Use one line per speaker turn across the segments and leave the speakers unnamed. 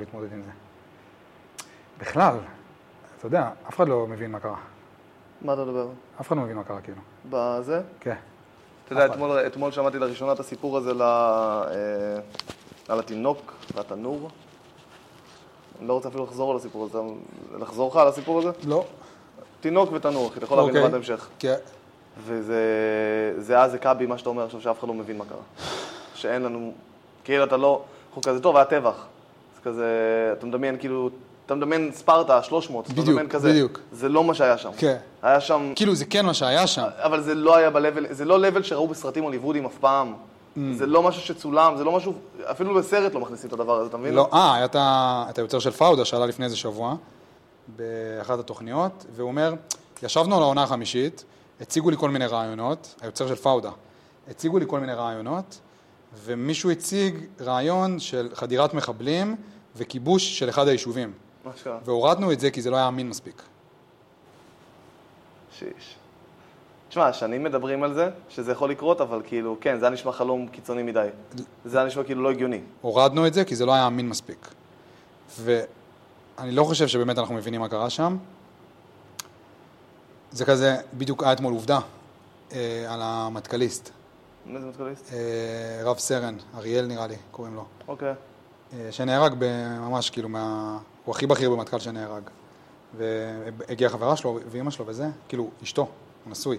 להתמודד עם זה. בכלל, אתה יודע, אף אחד לא מבין מה קרה.
מה אתה מדבר?
אף אחד לא מבין מה קרה, כאילו.
בזה?
כן.
אתה יודע, אתמול, אתמול שמעתי לראשונה את הסיפור הזה ל, אה, על התינוק והתנור. אני לא רוצה אפילו לחזור על הסיפור הזה. לחזור לך על הסיפור הזה?
לא.
תינוק ותנור, אחי, אתה יכול להבין
אוקיי.
לבד המשך.
כן.
וזה זה היה זה קאבי, מה שאתה אומר עכשיו, שאף אחד לא מבין מה קרה. שאין לנו, כאילו אתה לא, אנחנו כזה טוב, היה טבח. זה כזה, אתה מדמיין כאילו, אתה מדמיין ספרטה, 300, אתה
בדיוק,
מדמיין כזה.
בדיוק.
זה לא מה שהיה שם.
כן.
היה שם,
כאילו, זה כן מה שהיה שם.
אבל זה לא היה ב-level, זה לא level שראו בסרטים הוליוודים אף פעם.
Mm.
זה לא משהו שצולם, זה לא משהו, אפילו בסרט לא מכניסים את הדבר הזה, אתה מבין?
לא, אה, היה את ה- את היוצר של פאודה שעלה לפני איזה שבוע, באחת התוכניות, והוא אומר, ישבנו על העונה החמישית, הציגו לי כל מיני רעיונות, היוצר של פאודה, הציגו לי כל מיני רעיונות, ומישהו הציג רעיון של חדירת מחבלים וכיבוש של אחד היישובים,
מה שקרה.
והורדנו את זה כי זה לא היה אמין מספיק.
שיש. תשמע, שנים מדברים על זה, שזה יכול לקרות, אבל כאילו, כן, זה היה נשמע חלום קיצוני מדי. זה היה נשמע כאילו לא הגיוני.
הורדנו את זה כי זה לא היה אמין מספיק. ואני לא חושב שבאמת אנחנו מבינים מה קרה שם. זה כזה, בדיוק היה אתמול עובדה אה, על המטכליסט,
מי זה מתקוליסט?
אה, רב סרן, אריאל נראה לי, קוראים לו,
אוקיי.
אה, שנהרג ב- ממש כאילו מה... הוא הכי בכיר במטכ"ל שנהרג. והגיעה חברה שלו ואימא שלו וזה, כאילו, אשתו, הוא נשוי.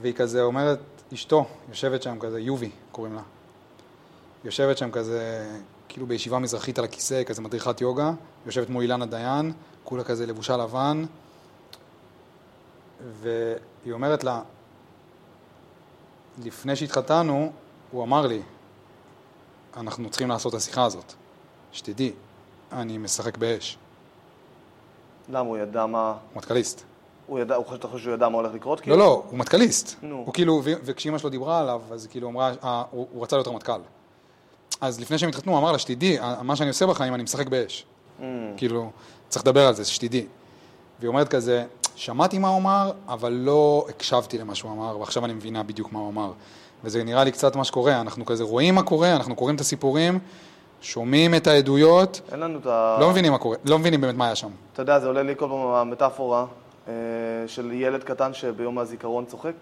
והיא כזה אומרת, אשתו יושבת שם כזה, יובי קוראים לה. יושבת שם כזה, כאילו בישיבה מזרחית על הכיסא, כזה מדריכת יוגה, יושבת מול אילנה דיין, כולה כזה לבושה לבן, והיא אומרת לה, לפני שהתחתנו, הוא אמר לי, אנחנו צריכים לעשות את השיחה הזאת. שתדעי, אני משחק באש,
למה, הוא ידע מה...
הוא מטכליסט.
הוא ידע, הוא חושב, אתה חושב שהוא ידע מה הולך לקרות?
לא, לא, הוא מטכליסט.
כאילו- נו.
הוא כאילו, ו- וכשאימא שלו דיברה עליו, אז כאילו אמרה, אה, הוא הוא רצה להיות רמטכ"ל. אז לפני שהם התחתנו, הוא אמר לה, שתדעי, אה, מה שאני עושה בחיים, אני משחק באש. כאילו, צריך לדבר על זה, שתדעי. והיא אומרת כזה, שמעתי מה הוא אמר, אבל לא הקשבתי למה שהוא אמר, ועכשיו אני מבינה בדיוק מה הוא אמר. וזה נראה לי קצת מה שקורה, אנחנו כזה רואים מה קורה, אנחנו קוראים את הסיפורים, שומעים את העדויות,
אין לנו את ה...
לא מבינים מה קורה, לא מבינים באמת מה היה שם.
אתה יודע, זה עולה לי כל פעם המטאפורה אה, של ילד קטן שביום הזיכרון צוחק.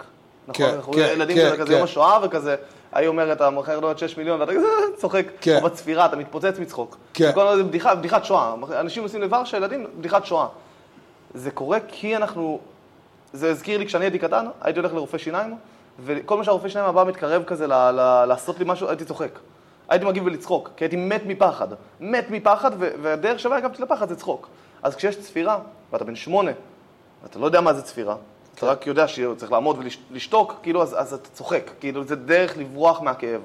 נכון,
כן,
אנחנו
כן,
ילדים
כן,
כזה, כזה
כן.
יום השואה וכזה, ההיא אומרת, המוכר לא עד 6 מיליון, ואתה כזה צוחק,
כן.
או בצפירה, אתה מתפוצץ מצחוק.
כן.
וכל הזמן זה בדיחה, בדיחת שואה. אנשים נוסעים לוורשה, ילדים, בדיחת שואה. זה קורה כי אנחנו... זה הזכיר לי כשאני הייתי קטן, הייתי הולך לרופא שיניים, וכל מה שהרופא שיניים הבא מתקרב כזה ל- ל- לעשות לי משהו, הייתי צוחק. הייתי מגיב ולצחוק, כי הייתי מת מפחד. מת מפחד, ו- והדרך שבה הגבתי לפחד זה צחוק. אז כשיש צפירה, ואתה בן שמונה, ואתה לא יודע מה זה צפירה, אתה רק יודע שצריך לעמוד ולשתוק, כאילו, אז, אז אתה צוחק. כאילו, זה דרך לברוח מהכאב.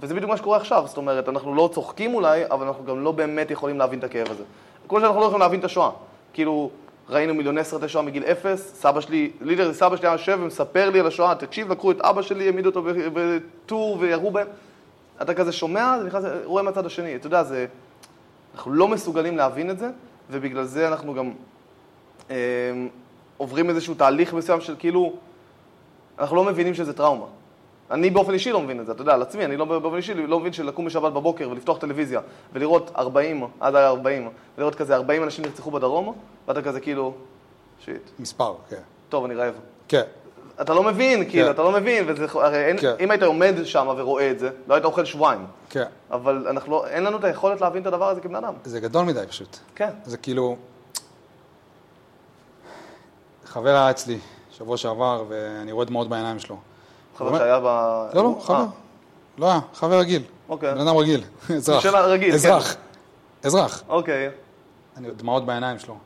וזה בדיוק מה שקורה עכשיו, זאת אומרת, אנחנו לא צוחקים אולי, אבל אנחנו גם לא באמת יכולים להבין את הכאב הזה. כמו שאנחנו לא יכולים להבין את השואה. כאילו, ראינו מיליוני סרטי שואה מגיל אפס, סבא שלי, לידר סבא שלי היה יושב ומספר לי על השואה, תקשיב, לקחו את אבא שלי, העמידו אותו ב- בטור וירו בהם. אתה כזה שומע, זה נכנס, רואה מהצד השני, אתה יודע, זה... אנחנו לא מסוגלים להבין את זה, ובגלל זה אנחנו גם אה, עוברים איזשהו תהליך מסוים של כאילו, אנחנו לא מבינים שזה טראומה. אני באופן אישי לא מבין את זה, אתה יודע, על עצמי, אני לא באופן אישי לא מבין שלקום בשבת בבוקר ולפתוח טלוויזיה ולראות 40, עד היה 40, ולראות כזה 40 אנשים נרצחו בדרום, ואתה כזה כאילו, שיט,
מספר, כן.
טוב, אני רעב.
כן.
אתה לא מבין, כאילו,
כן.
אתה לא מבין, וזה, הרי אין,
כן.
אם היית עומד שם ורואה את זה, לא היית אוכל שבועיים.
כן.
אבל אנחנו לא, אין לנו את היכולת להבין את הדבר הזה כבני אדם.
זה גדול מדי פשוט.
כן.
זה כאילו... חבר היה אצלי שבוע שעבר, ואני רואה דמעות בעיניים שלו.
חבר
אומר-
שהיה ב...
לא,
אה.
לא, חבר. לא היה, חבר רגיל.
אוקיי.
בן אדם רגיל, אזרח.
של הרגיל, כן.
אזרח. אזרח.
אוקיי.
אני, דמעות בעיניים שלו.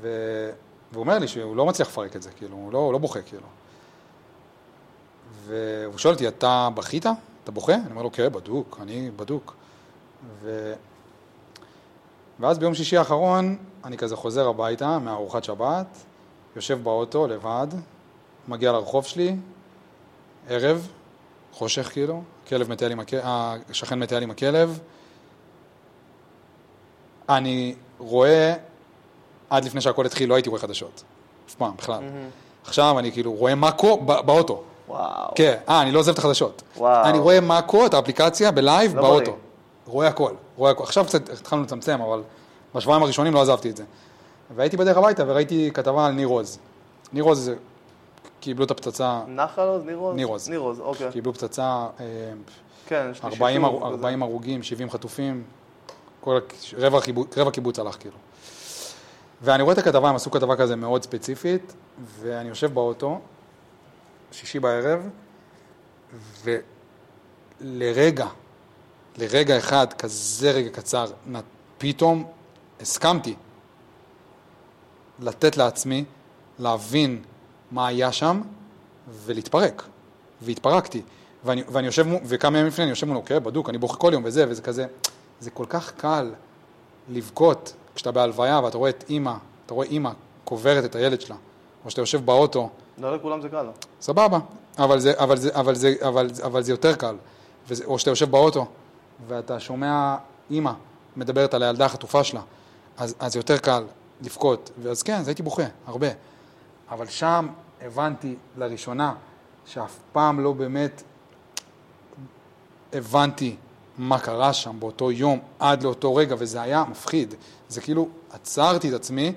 ו... והוא אומר לי שהוא לא מצליח לפרק את זה, כאילו, הוא לא, הוא לא בוכה, כאילו. והוא שואל אותי, אתה בכית? אתה בוכה? אני אומר לו, כן, בדוק, אני בדוק. ו... ואז ביום שישי האחרון, אני כזה חוזר הביתה מארוחת שבת, יושב באוטו לבד, מגיע לרחוב שלי, ערב, חושך כאילו, כלב מטייל עם הכלב, השכן מטייל עם הכלב, אני רואה, עד לפני שהכל התחיל, לא הייתי רואה חדשות. אף פעם, בכלל. עכשיו אני כאילו רואה מאקו ב- באוטו.
וואו.
כן, אה, אני לא עוזב את החדשות.
וואו.
אני רואה מאקו, את האפליקציה, בלייב,
לא
באוטו.
בריא.
רואה הכל, רואה הכל. עכשיו קצת התחלנו לצמצם, אבל בשבועיים הראשונים לא עזבתי את זה. והייתי בדרך הביתה וראיתי כתבה על ניר עוז. ניר עוז קיבלו את הפצצה,
נחל עוז? ניר עוז?
ניר עוז.
ניר עוז, אוקיי.
קיבלו פצצה, אה,
כן, יש לי
40,
שיתוף
הרו-
וזה.
40 הרוגים, 70 חטופים, כל, הק- רבע, חיבו- רבע קיבוץ הלך כאילו. ואני רואה את הכתבה, הם עשו כתבה כזה מאוד ספציפית, ואני יושב באוטו, שישי בערב, ולרגע, לרגע אחד, כזה רגע קצר, נ- פתאום הסכמתי לתת לעצמי להבין מה היה שם ולהתפרק. והתפרקתי. ואני, ואני יושב, מו- וכמה ימים לפני אני יושב מולו, אוקיי, בדוק, אני בוכה כל יום וזה, וזה כזה, זה כל כך קל לבכות כשאתה בהלוויה ואתה רואה את אימא, אתה רואה אימא קוברת את הילד שלה, או שאתה יושב באוטו,
לא לכולם זה קל.
סבבה, אבל זה, אבל זה, אבל זה, אבל, זה- אבל זה יותר קל. וזה, או שאתה יושב באוטו, ואתה שומע אימא מדברת על הילדה החטופה שלה, אז, אז יותר קל לבכות. ואז כן, אז הייתי בוכה, הרבה. אבל שם הבנתי לראשונה שאף פעם לא באמת הבנתי מה קרה שם באותו יום עד לאותו רגע, וזה היה מפחיד. זה כאילו, עצרתי את עצמי,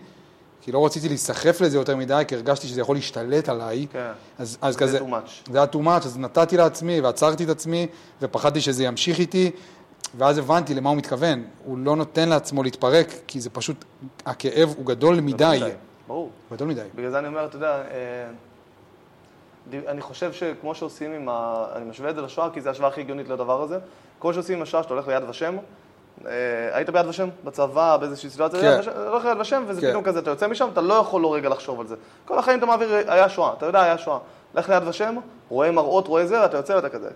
כי לא רציתי להיסחף לזה יותר מדי, כי הרגשתי שזה יכול להשתלט עליי.
כן.
אז, אז
זה
כזה,
too much.
זה היה too much, אז נתתי לעצמי ועצרתי את עצמי ופחדתי שזה ימשיך איתי ואז הבנתי למה הוא מתכוון, הוא לא נותן לעצמו להתפרק כי זה פשוט, הכאב הוא גדול מדי,
ברור.
גדול מדי.
בגלל זה אני אומר, אתה יודע, אה, די- אני חושב שכמו שעושים עם ה... אני משווה את זה לשואה, כי זו ההשוואה הכי הגיונית לדבר הזה. כמו שעושים עם השואה, שאתה הולך ליד ושם, אה, היית ביד ושם, בצבא, באיזושהי סיטואציה,
כן.
יד ושם- אתה הולך ליד ושם, וזה
כן.
פתאום כזה, אתה יוצא משם, אתה לא יכול לא רגע לחשוב על זה. כל החיים אתה מעביר, היה שואה, אתה יודע, היה שואה. לך ליד ושם, רואה מראות, רואה זה, ואתה יוצא ואתה כזה.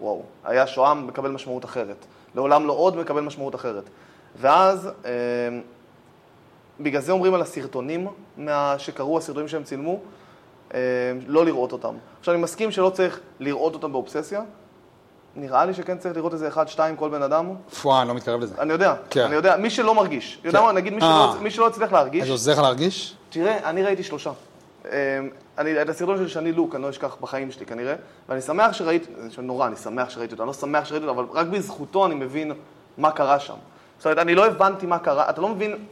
וואו, היה שואה, מקבל משמעות אחרת. לעולם לא עוד, מקבל משמעות אחרת. ואז... אה, בגלל זה אומרים על הסרטונים מה... שקרו, הסרטונים שהם צילמו, אה, לא לראות אותם. עכשיו, אני מסכים שלא צריך לראות אותם באובססיה. נראה לי שכן צריך לראות איזה אחד, שתיים, כל בן אדם.
פואה, אני לא מתקרב לזה.
אני יודע,
כן.
אני יודע, מי שלא מרגיש. יודע
כן.
מה, נגיד מי שלא,
אה.
מי שלא הצליח להרגיש,
אז זה עוזר לך להרגיש?
תראה, אני ראיתי שלושה. אה, אני, את הסרטון של שני לוק, אני לא אשכח בחיים שלי כנראה, ואני שמח שראיתי, זה נורא, אני שמח שראיתי אותו, אני לא שמח שראיתי אותו, אבל רק בזכותו אני מבין מה קרה שם. זאת אומרת, אני לא הבנתי מה קרה, אתה לא מבין,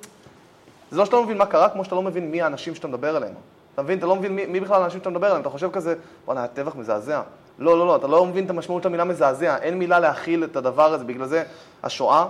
זה לא שאתה לא מבין מה קרה, כמו שאתה לא מבין מי האנשים שאתה מדבר עליהם. אתה מבין? אתה לא מבין מי, מי בכלל האנשים שאתה מדבר עליהם. אתה חושב כזה, וואלה, היה טבח מזעזע. לא, לא, לא, אתה לא מבין את המשמעות של המילה מזעזע. אין מילה להכיל את הדבר הזה. בגלל זה השואה,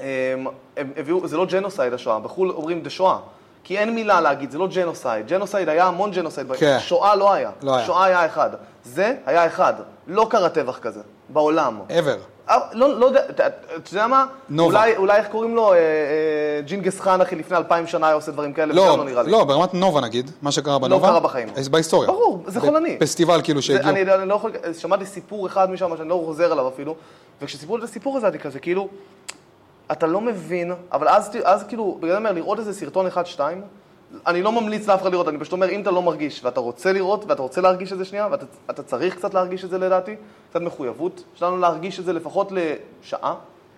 הם, הם הביאו, זה לא ג'נוסייד השואה, בחו"ל אומרים דה שואה. כי אין מילה להגיד, זה לא ג'נוסייד. ג'נוסייד היה המון ג'נוסייד.
כן.
שואה לא היה.
לא היה.
שואה היה אחד. זה היה אחד. לא קרה טבח כזה, בעולם.
ever.
אה, לא, לא יודע, אתה אתה יודע מה?
נובה.
אולי, אולי איך קוראים לו? אה, אה, ג'ינגיס חאן, אחי, לפני אלפיים שנה היה עושה דברים כאלה, וזה גם
לא,
לא נראה לי.
לא, ברמת נובה נגיד, מה שקרה בנובה.
קרה בחיים.
אז בהיסטוריה.
ברור, זה חולני.
פסטיבל כאילו
זה,
שהגיעו.
אני, יודע, אני לא יכול, שמעתי סיפור אחד משם שאני לא חוזר עליו אפילו, וכשסיפרו את הסיפור הזה, אני כזה, כאילו, אתה לא מבין, אבל אז, אז כאילו, בגלל זה אני אומר, לראות איזה סרטון אחד, שתיים, אני לא ממליץ לאף אחד לראות, אני פשוט אומר, אם אתה לא מרגיש, ואתה רוצה לראות, ואתה רוצה להרגיש את זה שנייה, ואתה אתה צריך קצת להרגיש את זה לדעתי, קצת מחויבות שלנו להרגיש את זה לפחות לשעה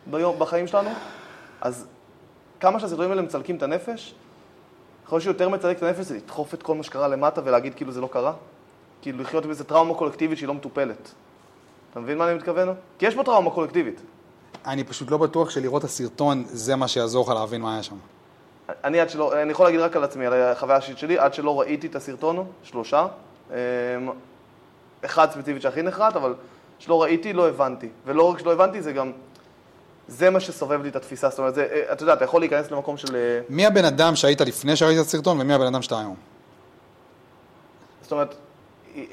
ביום, בחיים שלנו, אז כמה שהסרטונים האלה מצלקים את הנפש, יכול להיות שיותר מצלק את הנפש זה לדחוף את כל מה שקרה למטה ולהגיד כאילו זה לא קרה. כאילו לחיות עם איזה טראומה קולקטיבית שהיא לא מטופלת. אתה מבין מה אני מתכוון? כי יש פה טראומה קולקטיבית.
אני פשוט לא בטוח שלראות את הסרטון זה מה שיעזור לך להבין מה היה שם.
אני עד שלא, אני יכול להגיד רק על עצמי, על החוויה האישית שלי, עד שלא ראיתי את הסרטון, שלושה. אמ, אחד ספציפית שהכי נחרט, אבל שלא ראיתי, לא הבנתי. ולא רק שלא הבנתי, זה גם... זה מה שסובב לי את התפיסה, זאת אומרת, זה, אה, אתה יודע, אתה יכול להיכנס למקום של... אה,
מי הבן אדם שהיית לפני שראית את הסרטון ומי הבן אדם שאתה היום?
זאת אומרת, אמ,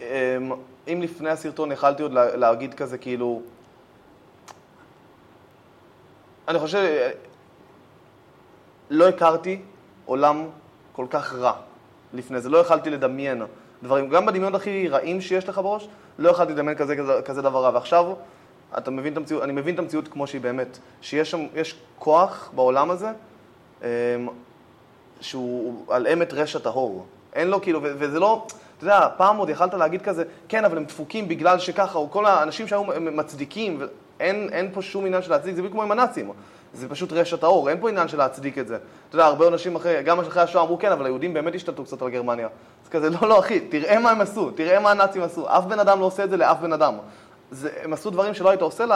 אם לפני הסרטון יכלתי עוד לה- להגיד כזה, כאילו... אני חושב, אה, לא הכרתי עולם כל כך רע לפני זה, לא יכלתי לדמיין דברים, גם בדמיונות הכי רעים שיש לך בראש, לא יכלתי לדמיין כזה, כזה, כזה דבר רע, ועכשיו אתה מבין את המציאות, אני מבין את המציאות כמו שהיא באמת, שיש שם, יש כוח בעולם הזה, אמ, שהוא על אמת רשע טהור. אין לו כאילו, ו- וזה לא, אתה יודע, פעם עוד יכלת להגיד כזה, כן, אבל הם דפוקים בגלל שככה, או כל האנשים שהיו הם מצדיקים, ואין, אין פה שום עניין של להצדיק, זה בדיוק כמו עם הנאצים. זה פשוט רשע טהור, אין פה עניין של להצדיק את זה. אתה יודע, הרבה אנשים אחרי, גם אחרי השואה אמרו כן, אבל היהודים באמת השתלטו קצת על גרמניה. אז כזה, לא, לא, אחי, תראה מה הם עשו, תראה מה הנאצים עשו. אף בן אדם לא עושה את זה לאף בן אדם. זה, הם עשו דברים שלא היית עושה ל...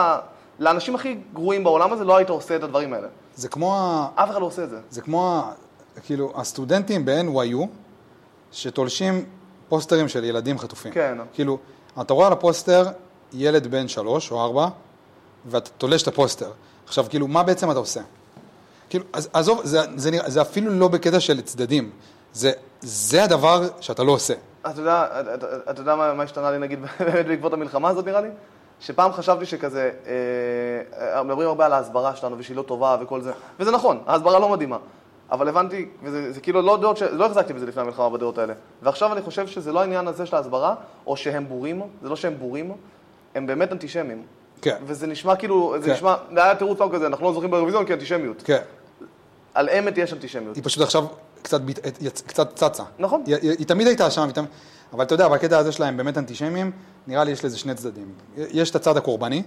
לאנשים הכי גרועים בעולם הזה לא היית עושה את הדברים האלה.
זה כמו, ה-
אף אחד לא עושה את זה.
זה כמו, ה- כאילו, הסטודנטים ב-NYU, שתולשים פוסטרים של ילדים חטופים.
כן.
כאילו, אתה רואה על הפוסטר ילד בן שלוש או ארבע, ואתה תולש את הפוסטר. עכשיו, כאילו, מה בעצם אתה עושה? כאילו, אז, עזוב, זה, זה, נראה, זה אפילו לא בקטע של צדדים. זה, זה הדבר שאתה לא עושה.
אתה יודע, אתה- אתה- אתה יודע מה, מה השתנה לי נגיד באמת בעקבות המלחמה הזאת נראה לי? שפעם חשבתי שכזה, אה, אה, מדברים הרבה על ההסברה שלנו ושהיא לא טובה וכל זה, וזה נכון, ההסברה לא מדהימה. אבל הבנתי, וזה זה כאילו לא דעות, ש... לא החזקתי בזה לפני המלחמה בדעות האלה. ועכשיו אני חושב שזה לא העניין הזה של ההסברה, או שהם בורים, זה לא שהם בורים, הם באמת אנטישמים.
כן,
וזה נשמע כאילו, זה
כן.
נשמע, זה היה תירוץ פעם כזה, אנחנו לא זוכרים באירוויזיון כי אנטישמיות.
כן.
על אמת יש אנטישמיות.
היא פשוט עכשיו קצת, ביט- יצ- קצת צצה.
נכון.
היא, היא, היא תמיד הייתה שם, היא תמיד... אבל אתה יודע, בקטע הזה שלהם באמת אנטישמים, נראה לי יש לזה שני צדדים. יש את הצד הקורבני,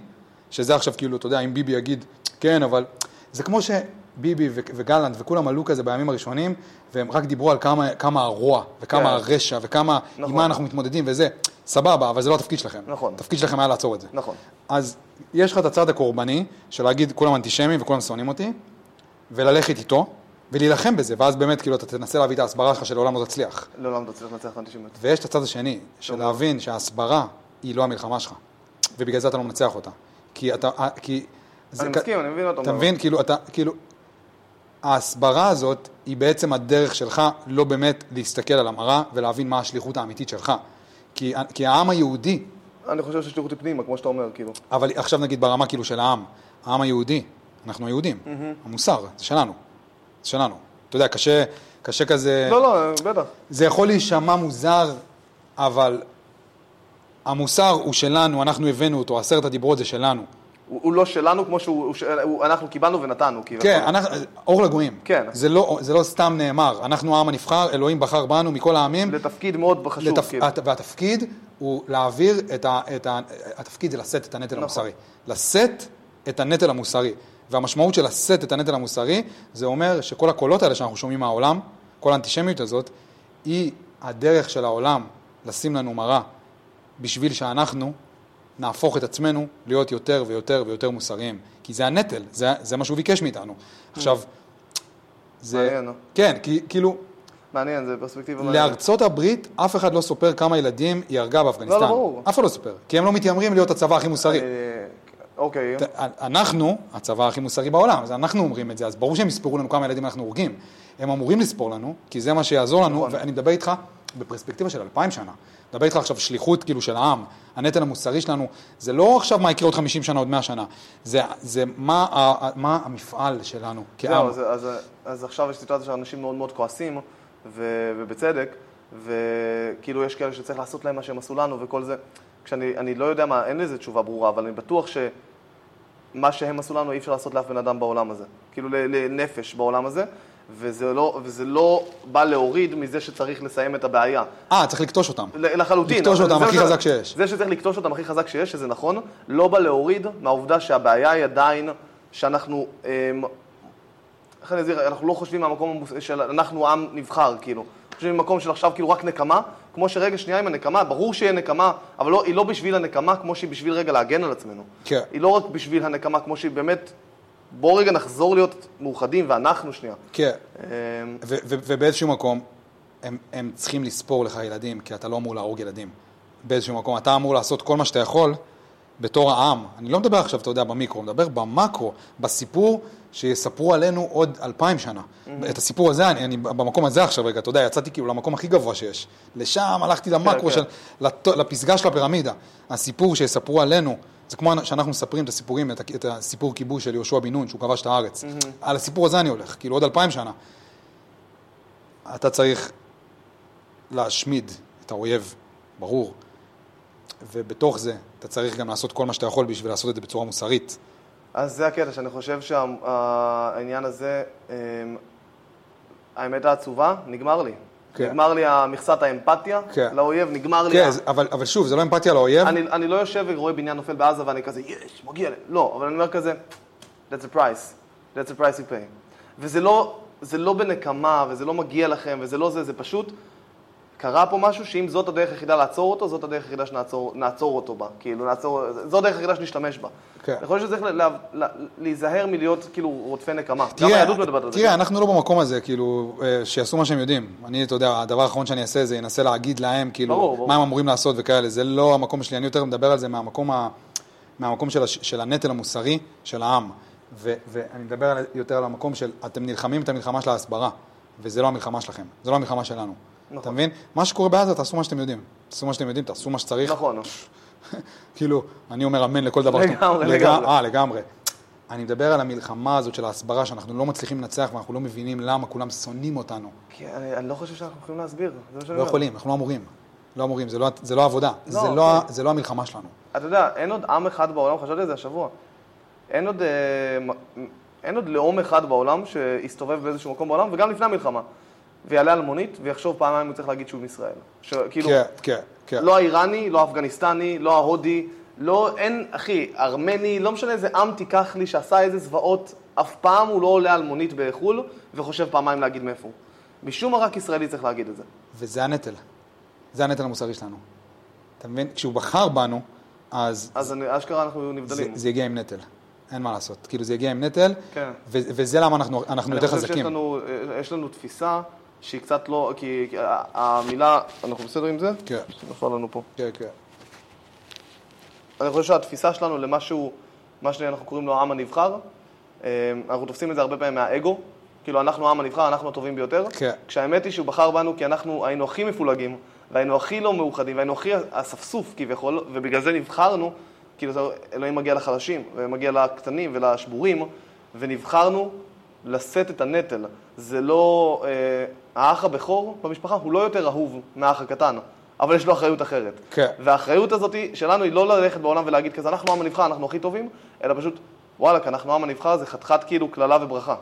שזה עכשיו כאילו, אתה יודע, אם ביבי יגיד, כן, אבל... זה כמו שביבי ו- וגלנט וכולם עלו כזה בימים הראשונים, והם רק דיברו על כמה, כמה הרוע, וכמה
כן.
הרשע, וכמה, נכון.
נכון.
עם מה אנחנו מתמודדים וזה. סבבה, אבל זה לא התפקיד שלכם.
נכון.
התפקיד שלכם היה לעצור את זה.
נכון.
אז יש לך את הצד הקורבני, של להגיד כולם אנטישמים וכולם שונאים אותי, וללכת איתו, ולהילחם בזה, ואז באמת כאילו אתה תנסה להביא את ההסברה שלך שלעולם לא תצליח.
לעולם אתה צריך לנצח את האנטישמיות.
ויש את הצד השני, של להבין שההסברה היא לא המלחמה שלך, ובגלל זה אתה לא מנצח אותה. כי אתה, אה, כי... זה
אני
כ-
מסכים, אני מבין מה אתה אומר.
אתה מבין? כאילו, אתה, כאילו, ההסברה הזאת היא בעצם הדרך שלך לא באמת להסתכל על המראה ולהבין מה השליחות האמיתית שלך. כי, ה- כי העם היהודי
אני חושב שהשליחות היא פנימה, כמו שאתה אומר, כאילו.
אבל עכשיו נגיד ברמה כאילו של העם, העם היהודי, אנחנו היהודים, המוסר, זה שלנו, זה שלנו. אתה יודע, קשה, קשה כזה,
לא, לא, בטח.
זה יכול להישמע מוזר, אבל המוסר הוא שלנו, אנחנו הבאנו אותו, עשרת הדיברות זה שלנו.
הוא הוא לא שלנו כמו שהוא, הוא של- הוא- אנחנו קיבלנו ונתנו, כאילו.
כן, אנחנו, אור לגויים.
כן.
זה לא, זה לא סתם נאמר, אנחנו העם הנבחר, אלוהים בחר בנו מכל העמים,
לתפקיד מאוד חשוב,
לתפ...
כאילו.
הת- והתפקיד הוא להעביר את ה... את ה... התפקיד זה לשאת את הנטל
נכון.
המוסרי. לשאת את הנטל המוסרי. והמשמעות של לשאת את הנטל המוסרי, זה אומר שכל הקולות האלה שאנחנו שומעים מהעולם, כל האנטישמיות הזאת, היא הדרך של העולם לשים לנו מראה בשביל שאנחנו נהפוך את עצמנו להיות יותר ויותר ויותר מוסריים. כי זה הנטל, זה, זה מה שהוא ביקש מאיתנו. עכשיו, זה...
מעניין, לא? נו.
כן, כי כאילו...
מעניין, זה פרספקטיבה מעניינת.
לארצות הברית אף אחד לא סופר כמה ילדים היא הרגה באפגניסטן.
לא, לא, ברור.
אף אחד לא סופר, כי הם לא מתיימרים להיות הצבא הכי מוסרי.
אה, אוקיי.
ת- אה, אנחנו הצבא הכי מוסרי בעולם, אז אנחנו אומרים את זה, אז ברור שהם יספרו לנו כמה ילדים אנחנו הורגים. הם אמורים לספור לנו, כי זה מה שיעזור לנו,
נכון.
ואני מדבר איתך בפרספקטיבה של אלפיים שנה. מדבר איתך עכשיו שליחות כאילו של העם, הנטל המוסרי שלנו, זה לא עכשיו מה יקרה עוד חמישים שנה, עוד מאה שנה, זה, זה מה, ה- מה המפעל שלנו כעם.
זהו, אז, אז, אז עכשיו יש סיטואציה שאנשים מאוד מאוד כועסים, ו, ובצדק, וכאילו יש כאלה שצריך לעשות להם מה שהם עשו לנו וכל זה. כשאני אני לא יודע מה, אין לזה תשובה ברורה, אבל אני בטוח שמה שהם עשו לנו אי אפשר לעשות לאף בן אדם בעולם הזה. כאילו ל- לנפש בעולם הזה, וזה לא, וזה לא בא להוריד מזה שצריך לסיים את הבעיה.
אה, צריך לכתוש אותם.
ל- לחלוטין.
לכתוש
אבל
אותם
זה
הכי
מה
חזק
ש-
שיש.
זה שצריך לכתוש אותם הכי חזק שיש, שזה נכון, לא בא להוריד מהעובדה שהבעיה היא עדיין שאנחנו... אמ, איך אני אסביר? אנחנו לא חושבים מהמקום המוס- של אנחנו עם נבחר, כאילו. חושבים ממקום של עכשיו כאילו רק נקמה, כמו שרגע שנייה עם הנקמה, ברור שיהיה נקמה, אבל לא, היא לא בשביל הנקמה כמו שהיא בשביל רגע להגן על עצמנו.
כן.
היא לא רק בשביל הנקמה כמו שהיא באמת... בואו רגע נחזור להיות מאוחדים, ואנחנו שנייה.
כן.
אמ,
ו- ו- ובאיזשהו מקום, הם, הם צריכים לספור לך ילדים, כי אתה לא אמור להרוג ילדים. באיזשהו מקום, אתה אמור לעשות כל מה שאתה יכול בתור העם. אני לא מדבר עכשיו, אתה יודע, במיקרו, אני מדבר במקרו, בסיפור שיספרו עלינו עוד אלפיים שנה.
Mm-hmm.
את הסיפור הזה, אני, אני במקום הזה עכשיו רגע, אתה יודע, יצאתי כאילו למקום הכי גבוה שיש. לשם הלכתי למקרו,
כן.
של, לת, לפסגה של הפירמידה. הסיפור שיספרו עלינו, זה כמו שאנחנו מספרים את הסיפורים, את, ה- את הסיפור כיבוש של יהושע בן נון, שהוא כבש את הארץ.
Mm-hmm.
על הסיפור הזה אני הולך, כאילו עוד אלפיים שנה. אתה צריך להשמיד את האויב, ברור. ובתוך זה, אתה צריך גם לעשות כל מה שאתה יכול בשביל לעשות את זה בצורה מוסרית.
אז זה הקטע, שאני חושב שהעניין הזה, אמ, האמת העצובה, נגמר לי.
כן.
נגמר לי המכסת האמפתיה
כן.
לאויב, נגמר לי... ה-
כן, אז- אבל, אבל שוב, זה לא אמפתיה לאויב.
אני, אני לא יושב ורואה בניין נופל בעזה ואני כזה, יש, מגיע לי. לא, אבל אני אומר כזה, that's a price, that's a price you pay. וזה לא, זה לא בנקמה, וזה לא מגיע לכם, וזה לא זה, זה פשוט, קרה פה משהו שאם זאת הדרך היחידה לעצור אותו, זאת הדרך היחידה שנעצור אותו בה. כאילו, נעצור, זו הדרך היחידה שנשתמש בה.
כן.
אני חושב שצריך לה- לה- להיזהר מלהיות כאילו רודפי נקמה. גם
תראה,
היהדות מדברת על זה. כן.
תראה, אנחנו לא במקום הזה, כאילו, אה, שיעשו מה שהם יודעים. אני, אתה יודע, הדבר האחרון שאני אעשה זה אנסה להגיד להם,
ברור,
כאילו,
ברור.
מה הם אמורים לעשות וכאלה. זה לא המקום שלי, אני יותר מדבר על זה מהמקום, ה, מהמקום של, הש, של הנטל המוסרי של העם. ו, ואני מדבר על, יותר על המקום של, אתם נלחמים את המלחמה של ההסברה, וזה לא המלחמה שלכם, זה לא המלחמה שלנו.
נכון.
אתה מבין? מה שקורה בעזה, תעשו מה שאתם יודעים. תעשו מה שאתם יודעים, תעשו מה שצריך.
נכון.
כאילו, אני אומר אמן לכל דבר. שאתם-
לגמרי,
לגמ-
לגמרי.
אה, לגמרי. אני מדבר על המלחמה הזאת של ההסברה, שאנחנו לא מצליחים לנצח ואנחנו לא מבינים למה כולם שונאים אותנו.
כי אני אני לא חושב שאנחנו יכולים להסביר. זה מה שאני
לא
אומר.
יכולים, אנחנו לא אמורים. לא אמורים, זה לא, זה לא עבודה.
לא,
זה, לא,
כן.
זה לא המלחמה שלנו.
אתה יודע, אין עוד עם אחד בעולם, חשבתי על זה השבוע. אין עוד, אה, מ- אין עוד לאום אחד בעולם שיסתובב באיזשהו מקום בעולם, וגם לפני המלחמה. ויעלה על מונית ויחשוב פעמיים אם הוא צריך להגיד שהוא מישראל. שכאילו,
כן, כן, כן.
כאילו, לא האיראני, לא האפגניסטני, לא ההודי, לא, אין, אחי, ארמני, לא משנה איזה עם תיקח לי שעשה איזה זוועות, אף פעם הוא לא עולה על מונית בחו"ל וחושב פעמיים להגיד מאיפה הוא. משום מה רק ישראלי צריך להגיד את זה.
וזה הנטל. זה הנטל המוסרי שלנו. אתה מבין? כשהוא בחר בנו, אז
אז אני, אשכרה אנחנו
זה,
נבדלים.
זה יגיע עם נטל. אין מה לעשות. כאילו, זה יגיע עם נטל,
כן.
ו- וזה למה אנחנו, אנחנו יותר
אני חושב שיש
חזקים.
לנו, אה, יש לנו תפיסה שהיא קצת לא, כי כי ה- המילה, אנחנו בסדר עם זה?
כן,
נפל לנו פה.
כן, כן.
אני חושב שהתפיסה שלנו למה שהוא, מה שאנחנו קוראים לו העם הנבחר, אה, אנחנו תופסים את זה הרבה פעמים מהאגו, כאילו אנחנו העם הנבחר, אנחנו הטובים ביותר,
כן.
כשהאמת היא שהוא בחר בנו כי אנחנו היינו הכי מפולגים, והיינו הכי לא מאוחדים, והיינו הכי אספסוף כביכול, ובגלל זה נבחרנו, כאילו זה- אלוהים מגיע לחלשים, ומגיע לקטנים ולשבורים, ונבחרנו לשאת את הנטל. זה לא, אה, האח הבכור במשפחה הוא לא יותר אהוב מהאח הקטן, אבל יש לו אחריות אחרת.
כן.
והאחריות הזאת היא- שלנו היא לא ללכת בעולם ולהגיד כזה, אנחנו העם הנבחר, אנחנו הכי טובים, אלא פשוט, וואלכ, אנחנו העם הנבחר, זה חתיכת כאילו קללה וברכה.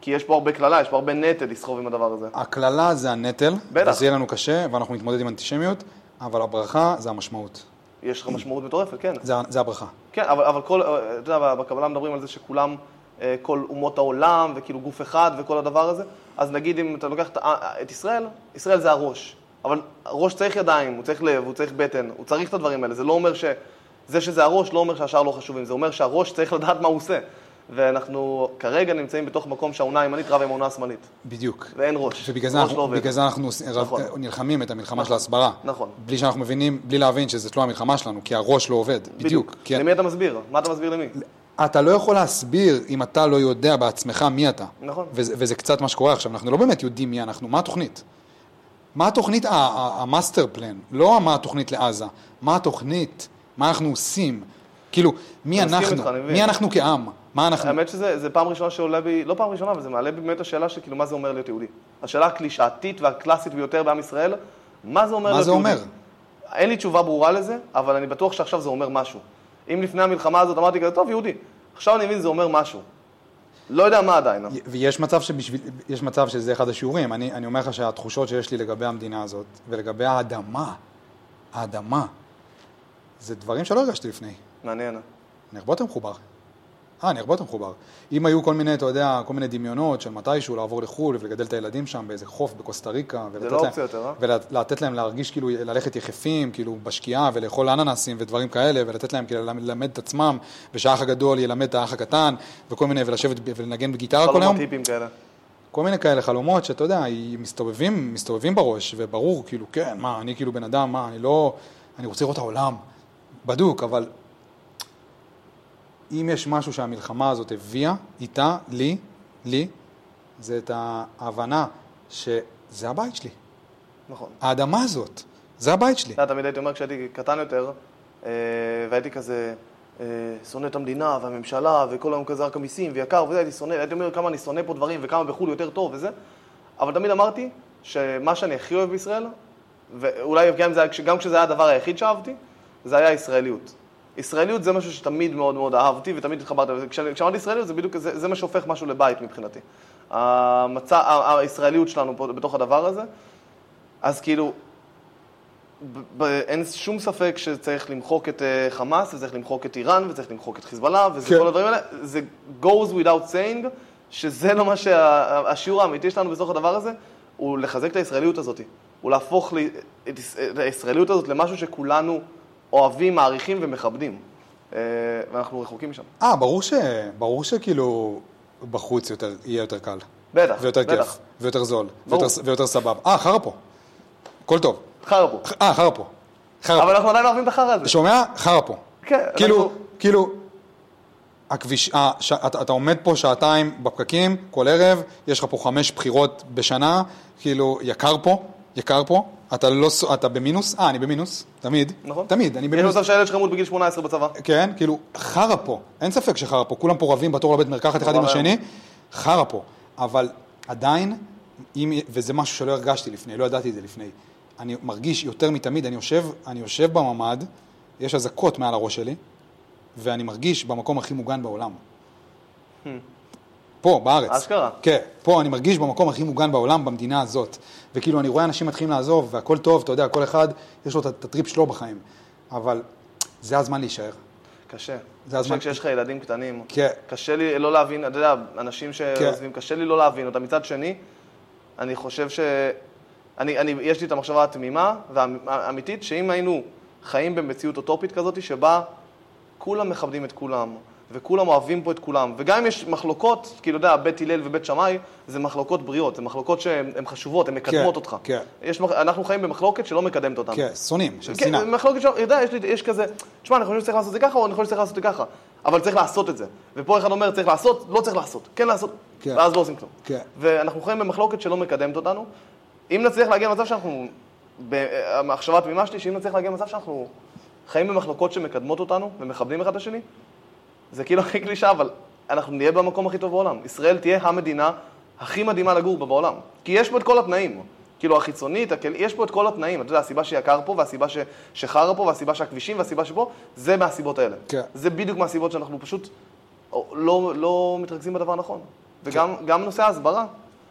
כי יש פה הרבה קללה, יש פה הרבה נטל לסחוב עם הדבר הזה.
הקללה זה הנטל,
בטח.
וזה יהיה לנו קשה, ואנחנו נתמודד עם אנטישמיות, אבל הברכה זה המשמעות.
יש לך משמעות מטורפת, כן.
זה, זה הברכה.
כן, אבל, אבל כל, אה, אתה יודע, בקבלה מדברים על זה שכולם, אה, כל אומות העולם, וכאילו גוף אחד וכל הדבר הזה, אז נגיד אם אתה לוקח את, ה- את ישראל, ישראל זה הראש. אבל ראש צריך ידיים, הוא צריך לב, הוא צריך בטן, הוא צריך את הדברים האלה. זה לא אומר ש... זה שזה הראש לא אומר שהשאר לא חשובים, זה אומר שהראש צריך לדעת מה הוא עושה. ואנחנו כרגע נמצאים בתוך מקום שהאונה הימנית רבה עם האונה השמאלית.
בדיוק.
ואין ראש.
שבגלל זה
ראש לא
אנחנו,
עובד.
בגלל זה אנחנו עושים- רב-
נכון.
אה, נלחמים את המלחמה של ההסברה.
נכון.
בלי שאנחנו מבינים, בלי להבין שזאת לא המלחמה שלנו, כי הראש לא עובד. בדיוק. כי
למי אתה מסביר? מה אתה מסביר למי?
אתה לא יכול להסביר אם אתה לא יודע בעצמך מי אתה.
נכון.
וזה, וזה קצת מה שקורה עכשיו, אנחנו לא באמת יודעים מי אנחנו, מה התוכנית? מה התוכנית, ה- ה- המאסטר פלן, לא מה התוכנית לעזה, מה התוכנית, מה אנחנו עושים, כאילו, מי
אני מסכים
אנחנו,
איתך, אני מבין.
מי אנחנו כעם, מה אנחנו,
האמת שזה זה פעם ראשונה שעולה בי, לא פעם ראשונה, אבל זה מעלה בי באמת השאלה של כאילו מה זה אומר להיות יהודי. השאלה הקלישאתית והקלאסית ביותר בעם ישראל, מה זה אומר
מה
להיות
זה
יהודי?
אומר?
אין לי תשובה ברורה לזה, אבל אני בטוח שעכשיו זה אומר משהו. אם לפני המלחמה הזאת אמרתי כזה, טוב, יהודי, עכשיו אני מבין זה אומר משהו. לא יודע מה עדיין. אבל-
ויש מצב, שבשביל, יש מצב שזה אחד השיעורים, אני, אני אומר לך שהתחושות שיש לי לגבי המדינה הזאת, ולגבי האדמה, האדמה, זה דברים שלא הרגשתי לפני.
מעניין.
אני הרבה יותר מחובר. אה, אני הרבה יותר מחובר. אם היו כל מיני, אתה יודע, כל מיני דמיונות של מתישהו לעבור לחו"ל ולגדל את הילדים שם באיזה חוף בקוסטה ריקה,
זה
ולתת
לא
להם,
אופציה יותר, אה?
ולתת להם להרגיש כאילו, ללכת יחפים, כאילו, בשקיעה ולאכול אננסים ודברים כאלה, ולתת להם כאילו ללמד את עצמם, ושהאח הגדול ילמד את האח הקטן, וכל מיני, ולשבת ב- ולנגן בגיטרה כל
חלומות
היום.
טיפים כאלה.
כל מיני כאלה חלומות שאתה יודע, היא- מסתובבים, מסתובבים בראש, וברור, כאילו, כן, מה, אני כאילו בן אדם, מה, אני לא, אני רוצה לראות את העולם, בדוק, אבל אם יש משהו שהמלחמה הזאת הביאה איתה, לי, לי, זה את ההבנה שזה הבית שלי,
נכון.
האדמה הזאת, זה הבית שלי.
אתה יודע, לא, תמיד הייתי אומר כשהייתי קטן יותר, אה, והייתי כזה אה, שונא את המדינה והממשלה, וכל היום כזה רק המיסים ויקר וזה, הייתי שונא, הייתי אומר כמה אני שונא פה דברים וכמה בחו"ל יותר טוב וזה, אבל תמיד אמרתי שמה שאני הכי אוהב בישראל, ואולי גם, אם זה, היה- גם כשזה היה הדבר היחיד שאהבתי, זה היה ישראליות. ישראליות זה משהו שתמיד מאוד מאוד אהבתי ותמיד התחברתי, אליו. וכשאני- כשאמרתי ישראליות זה בדיוק, זה, זה מה שהופך משהו לבית מבחינתי. המצע, ה- הישראליות שלנו פה בתוך הדבר הזה, אז כאילו, ב- ב- אין שום ספק שצריך למחוק את אה, חמאס, וצריך למחוק את איראן, וצריך למחוק את חיזבאללה, וזה
כן.
כל הדברים האלה. זה goes without saying, שזה לא מה שהשיעור האמיתי שלנו בסוף הדבר הזה, הוא לחזק את הישראליות הזאת. הוא להפוך לי- את יש- את הישראליות הזאת למשהו שכולנו אוהבים, מעריכים ומכבדים. אה, ואנחנו רחוקים משם.
אה, ברור ש... ברור שכאילו בחוץ יותר, יהיה יותר קל.
בטח,
ויותר
בטח.
כיף, ויותר זול,
ברור.
ויותר, ויותר סבב. אה, חרא פה. הכל טוב.
חרא פה.
אה, חרא פה. חרא
אבל אנחנו עדיין אוהבים את החרא הזה.
פה. שומע? חרא פה.
כן,
כאילו,
אנחנו-
כאילו, הכביש, אה, ש, אתה, אתה עומד פה שעתיים בפקקים, כל ערב, יש לך פה חמש בחירות בשנה, כאילו, יקר פה, יקר פה, אתה לא, ס- אתה במינוס, אה, אני במינוס, תמיד,
נכון?
תמיד, אני
יש
במינוס,
מצב שהילד שלך מות בגיל 18 בצבא.
כן, כאילו, חרא פה, אין ספק שחרא פה, כולם פה רבים בתור לבית מרקחת אחד עם
נורא
השני, חרא פה, אבל עדיין, אם, וזה משהו שלא הרגשתי לפני, לא ידעתי את זה לפני, אני מרגיש יותר מתמיד, אני יושב, אני יושב בממ"ד, יש אזעקות מעל הראש שלי, ואני מרגיש במקום הכי מוגן בעולם. פה, בארץ.
Hmm. אשכרה.
כן, פה אני מרגיש במקום הכי מוגן בעולם, במדינה הזאת. וכאילו, אני רואה אנשים מתחילים לעזוב, והכל טוב, אתה יודע, כל אחד, יש לו את- את הטריפ שלו בחיים. אבל זה הזמן להישאר.
קשה.
זה הזמן-
קשה כשיש לך ילדים קטנים.
כן.
קשה לי לא להבין, אתה יודע, אנשים שעוזבים, קשה לי לא להבין אותם. מצד שני, אני חושב ש... אני, אני, יש לי את המחשבה התמימה והאמיתית, שאם היינו חיים במציאות אוטופית כזאת, שבה כולם מכבדים את כולם, וכולם אוהבים פה את כולם, וגם אם יש מחלוקות, כאילו, אתה יודע, בית הלל ובית שמאי, זה מחלוקות בריאות, זה מחלוקות שהן הן חשובות, הן מקדמות אותך.
כן.
יש, מח- אנחנו חיים במחלוקת שלא מקדמת אותנו.
כן, שונאים, של
כן,
שנאה.
זה מחלוקת שם, יודע, יש, לי- יש כזה, תשמע, אני חושב שצריך לעשות את זה ככה, או אני חושב שצריך לעשות את זה ככה, אבל צריך לעשות את זה. ופה אחד אומר, צריך לעשות, לא צריך לעשות, כן לעשות,
כן.
ואז לא עושים כלום.
כן.
ואנחנו חיים במחלוקת שלא מקדמת אותנו. אם נצליח להגיע למצב שאנחנו, ב- המחשבה התמימה שלי, שאם נצליח להגיע למצב שאנחנו חיים במחלוקות שמקדמות אותנו ומכבדים אחד את השני, זה כאילו הכי קלישה, אבל אנחנו נהיה במקום הכי טוב בעולם. ישראל תהיה המדינה הכי מדהימה לגור בה בעולם. כי יש פה את כל התנאים. כאילו החיצונית, הכל... יש פה את כל התנאים. אתה יודע, הסיבה שיקר פה, והסיבה ש... שחרא פה, והסיבה שהכבישים, והסיבה שפה, זה מהסיבות האלה.
כן.
זה בדיוק מהסיבות שאנחנו פשוט לא, לא מתרכזים בדבר הנכון. וגם גם נושא ההסברה,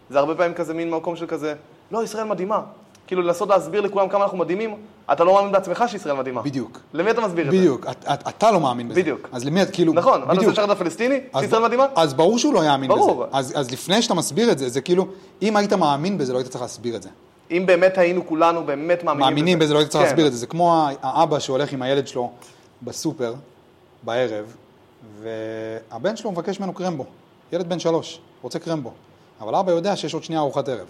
זה הרבה פעמים כזה מין מקום של כזה, לא, ישראל מדהימה. כאילו לנסות להסביר לכולם כמה אנחנו מדהימים, אתה לא מאמין בעצמך שישראל מדהימה.
בדיוק.
למי אתה מסביר את זה?
בדיוק, את- את- אתה לא מאמין בזה.
בדיוק.
אז למי, את- כאילו,
נכון, אתה רוצה
בדיוק.
לשחרר את הפלסטיני?
אז-
ישראל מדהימה?
אז ברור שהוא לא יאמין בזה.
ברור.
אז אז לפני שאתה מסביר את זה, זה כאילו, אם היית מאמין בזה, לא היית צריך להסביר את זה.
אם באמת היינו כולנו באמת מאמינים בזה.
מאמינים בזה, לא היית צריך
כן.
להסביר את זה. זה כמו ה- האבא שהולך עם הילד שלו בסופר, בערב, והבן שלו מבקש ממנו קרמבו. ילד בן שלוש, רוצה קרמבו. אבל אבא יודע שיש עוד שנייה ארוחת ערב.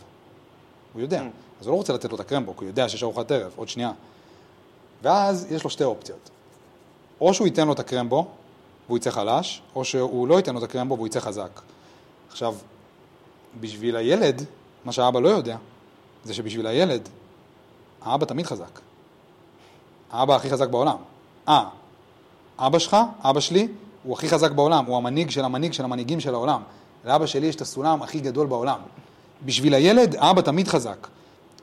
הוא יודע.
Mm.
אז הוא לא רוצה לתת לו את הקרמבו, כי הוא יודע שיש ארוחת ערב, עוד שנייה. ואז יש לו שתי אופציות. או שהוא ייתן לו את הקרמבו, והוא יצא חלש, או שהוא לא ייתן לו את הקרמבו והוא יצא חזק. עכשיו, בשביל הילד, מה שהאבא לא יודע, זה שבשביל הילד, האבא תמיד חזק. האבא הכי חזק בעולם. אה, אבא שלך, אבא שלי, הוא הכי חזק בעולם, הוא המנהיג של המנהיג של המנהיגים של העולם. לאבא שלי יש את הסולם הכי גדול בעולם. בשביל הילד, האבא תמיד חזק.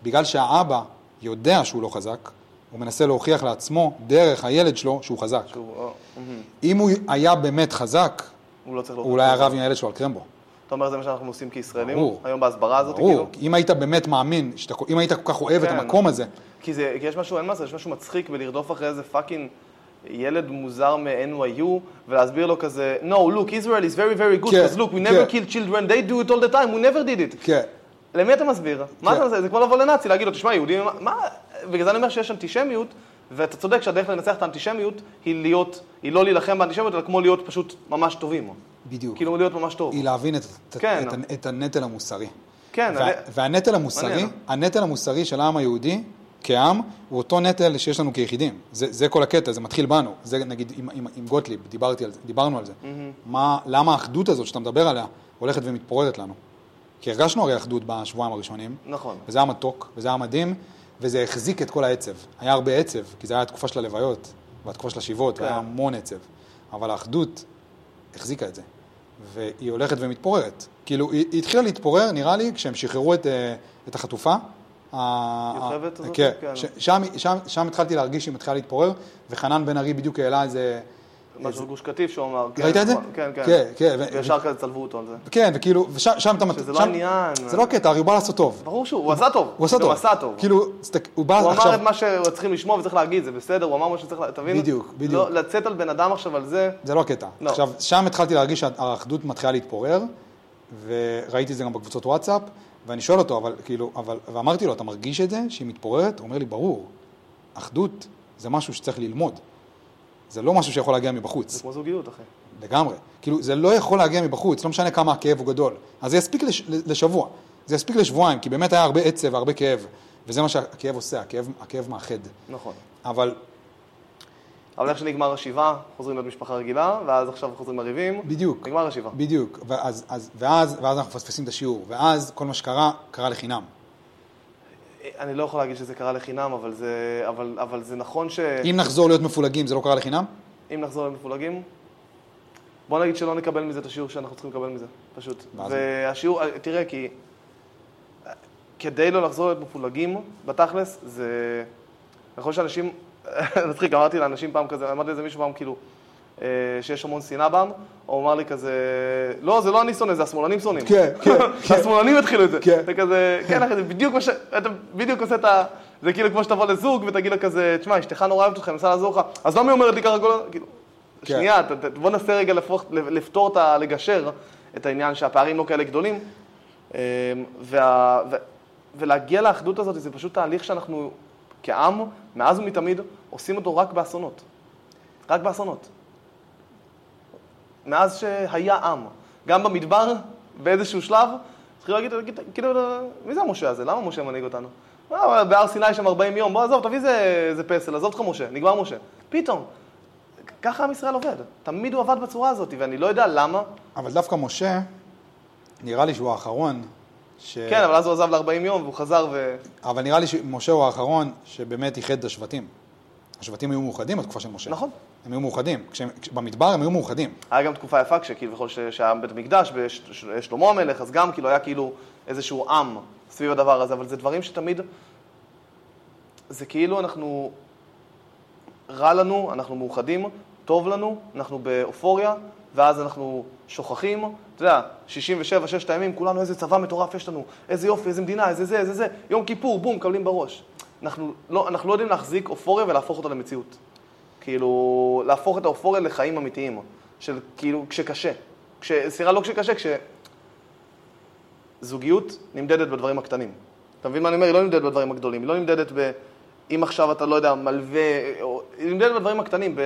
בגלל שהאבא יודע שהוא לא חזק, הוא מנסה להוכיח לעצמו, דרך הילד שלו, שהוא חזק.
שהוא- אה, מהמם.
אם הוא היה באמת חזק,
הוא לא צריך
הוא אולי היה רב עם הילד שלו על קרמבו.
אתה אומר זה מה שאנחנו עושים כישראלים,
ברור.
היום בהסברה הזאת,
ברור,
כאילו.
כי "אוקיי." אם היית באמת מאמין, שאתה, אם היית כל כך אוהב את
כן.
המקום הזה,
כי זה- כי יש משהו, אין מה לעשות, יש משהו מצחיק בלרדוף אחרי איזה פאקינג ילד מוזר מ-NYU, ולהסביר לו כזה, No, look, Israel is very very good,
כן,
because look, we
כן.
never killed children, they do it all the time, we never did it.
כן,
למי אתה מסביר? מה אתה מסביר? זה כמו לבוא לנאצי, להגיד לו, תשמע, יהודים, מה- מה... בגלל זה אני אומר שיש אנטישמיות, ואתה צודק שהדרך לנצח את האנטישמיות היא להיות, היא לא להילחם באנטישמיות, אלא כמו להיות פשוט ממש טובים.
בדיוק.
כאילו להיות ממש טוב.
היא להבין את,
כן.
את, את, את הנטל המוסרי.
כן,
וה,
אני-
והנטל המוסרי,
מעניין.
הנטל המוסרי של העם היהודי כעם, הוא אותו נטל שיש לנו כיחידים. זה, זה כל הקטע, זה מתחיל בנו. זה נגיד עם, עם, עם גוטליב, דיברתי על זה, דיברנו על זה. מה, למה האחדות הזאת שאתה מדבר עליה הולכת ומתפוררת לנו? כי הרגשנו הרי אחדות בשבועיים הראשונים.
נכון.
וזה היה מתוק, וזה היה מדהים, וזה החזיק את כל העצב. היה הרבה עצב, כי זה היה התקופה של הלוויות, והתקופה של השבעות,
כן.
והיה המון עצב. אבל האחדות החזיקה את זה, והיא הולכת ומתפוררת. כאילו, היא, היא התחילה להתפורר, נראה לי, כשהם שחררו את, אה, את החטופה. ה-
יוכבד הזאת?
כן,
כן.
ש- שם, שם, שם התחלתי להרגיש שהיא מתחילה להתפורר, וחנן בן ארי בדיוק העלה איזה...
משהו על גוש קטיף שהוא אמר. כן,
ראית את זה?
נכון, כן, כן.
כן, כן. ו-
וישר כזה צלבו אותו על זה.
כן, וכאילו, ושם שם אתה...
שזה
שם-
לא העניין.
זה לא הקטע, הרי הוא בא לעשות טוב.
ברור שהוא, לא, הוא עשה טוב.
הוא עשה
גם
טוב.
עשה טוב.
כאילו, תסתכל- הוא בא
הוא
עכשיו...
אמר את מה שצריכים לשמוע וצריך להגיד, זה בסדר, הוא אמר מה שצריך, לה- תבין?
בדיוק, בדיוק.
לא, לצאת על בן אדם עכשיו על זה,
זה לא הקטע.
לא.
עכשיו, שם התחלתי להרגיש שהאחדות מתחילה להתפורר, וראיתי את זה גם בקבוצות וואטסאפ, ואני שואל אותו, אבל כאילו, אבל, ואמרתי לו, אתה מרגיש את זה, שהיא מתפוררת? הוא אומר לי, ברור, אחדות זה משהו שצריך ללמוד. זה לא משהו שיכול להגיע מבחוץ.
זה כמו זוגיות, אחי.
לגמרי. כאילו, זה לא יכול להגיע מבחוץ, לא משנה כמה הכאב הוא גדול. אז זה יספיק לש, לשבוע, זה יספיק לשבועיים, כי באמת היה הרבה עצב והרבה כאב, וזה מה שהכאב עושה, הכאב, הכאב מאחד.
נכון.
אבל
אבל איך שנגמר השבעה, חוזרים להיות משפחה רגילה, ואז עכשיו חוזרים לריבים.
בדיוק.
נגמר השבעה.
בדיוק, ואז, אז, ואז, ואז אנחנו מפספסים את השיעור, ואז כל מה שקרה, קרה לחינם.
אני לא יכול להגיד שזה קרה לחינם, אבל זה, אבל, אבל זה נכון ש...
אם נחזור להיות מפולגים, זה לא קרה לחינם?
אם נחזור למפולגים, בוא נגיד שלא נקבל מזה את השיעור שאנחנו צריכים לקבל מזה, פשוט.
מה זה?
והשיעור, אה, תראה, כי אה, כדי לא לחזור להיות מפולגים, בתכלס, זה... נכון שאנשים, מצחיק, אמרתי לאנשים פעם כזה, אמרתי לזה מישהו פעם כאילו, אה, שיש המון שנאה בעם, הוא אמר לי כזה, לא, זה לא אני שונא, זה השמאלנים שונאים.
כן, כן, כן.
השמאלנים התחילו את זה.
כן.
אתה כזה, כן, אחי, זה בדיוק מה ש... אתה בדיוק עושה את ה... זה כאילו כמו שתבוא לזוג ותגיד לו כזה, תשמע, אשתך נורא אוהבת אותך, היא מנסה לעזור לך, אז למה היא אומרת לי ככה כל הזמן? כאילו,
כן.
שנייה, ת- ת- בוא ננסה רגע לפרוח- לפתור את ה... לגשר את העניין שהפערים לא כאלה גדולים. אמ, וה... ו... ולהגיע לאחדות הזאת זה פשוט תהליך שאנחנו כעם, מאז ומתמיד, עושים אותו רק באסונות. רק באסונות. מאז שהיה עם, גם במדבר, באיזשהו שלב, צריכים להגיד, להגיד, כאילו, מי זה המשה הזה? למה משה מנהיג אותנו? "אה, אבל בהר סיני יש שם 40 יום, בוא עזוב, תביא איזה איזה פסל, עזוב אותך משה, נגמר משה. פתאום, כ- ככה עם ישראל עובד, תמיד הוא עבד בצורה הזאת, ואני לא יודע למה.
אבל דווקא משה, נראה לי שהוא האחרון, ש...
כן, אבל אז הוא עזב ל-40 יום והוא חזר ו...
אבל נראה לי שמשה הוא האחרון שבאמת איחד את השבטים. השבטים היו מאוחדים בתקופה של משה.
נכון.
הם היו מאוחדים. כשהם, כש- במדבר הם היו מאוחדים.
היה גם תקופה יפה כשכביכול ש- שהיה בית מקדש ושלמה המלך, אז גם כאילו היה כאילו איזשהו עם סביב הדבר הזה, אבל זה דברים שתמיד, זה כאילו אנחנו, רע לנו, אנחנו מאוחדים, טוב לנו, אנחנו באופוריה, ואז אנחנו שוכחים, אתה יודע, 67, ששת הימים, כולנו איזה צבא מטורף יש לנו, איזה יופי, איזה מדינה, איזה זה, איזה זה, יום כיפור, בום, מקבלים בראש. אנחנו לא, אנחנו לא יודעים להחזיק אופוריה ולהפוך אותה למציאות. כאילו, להפוך את האופוריה לחיים אמיתיים, של כאילו, כשקשה. כש, סליחה, לא כשקשה, כש... זוגיות נמדדת בדברים הקטנים. אתה מבין מה אני אומר? היא לא נמדדת בדברים הגדולים, היא לא נמדדת ב... אם עכשיו אתה, לא יודע, מלווה, או... היא נמדדת בדברים הקטנים, ב...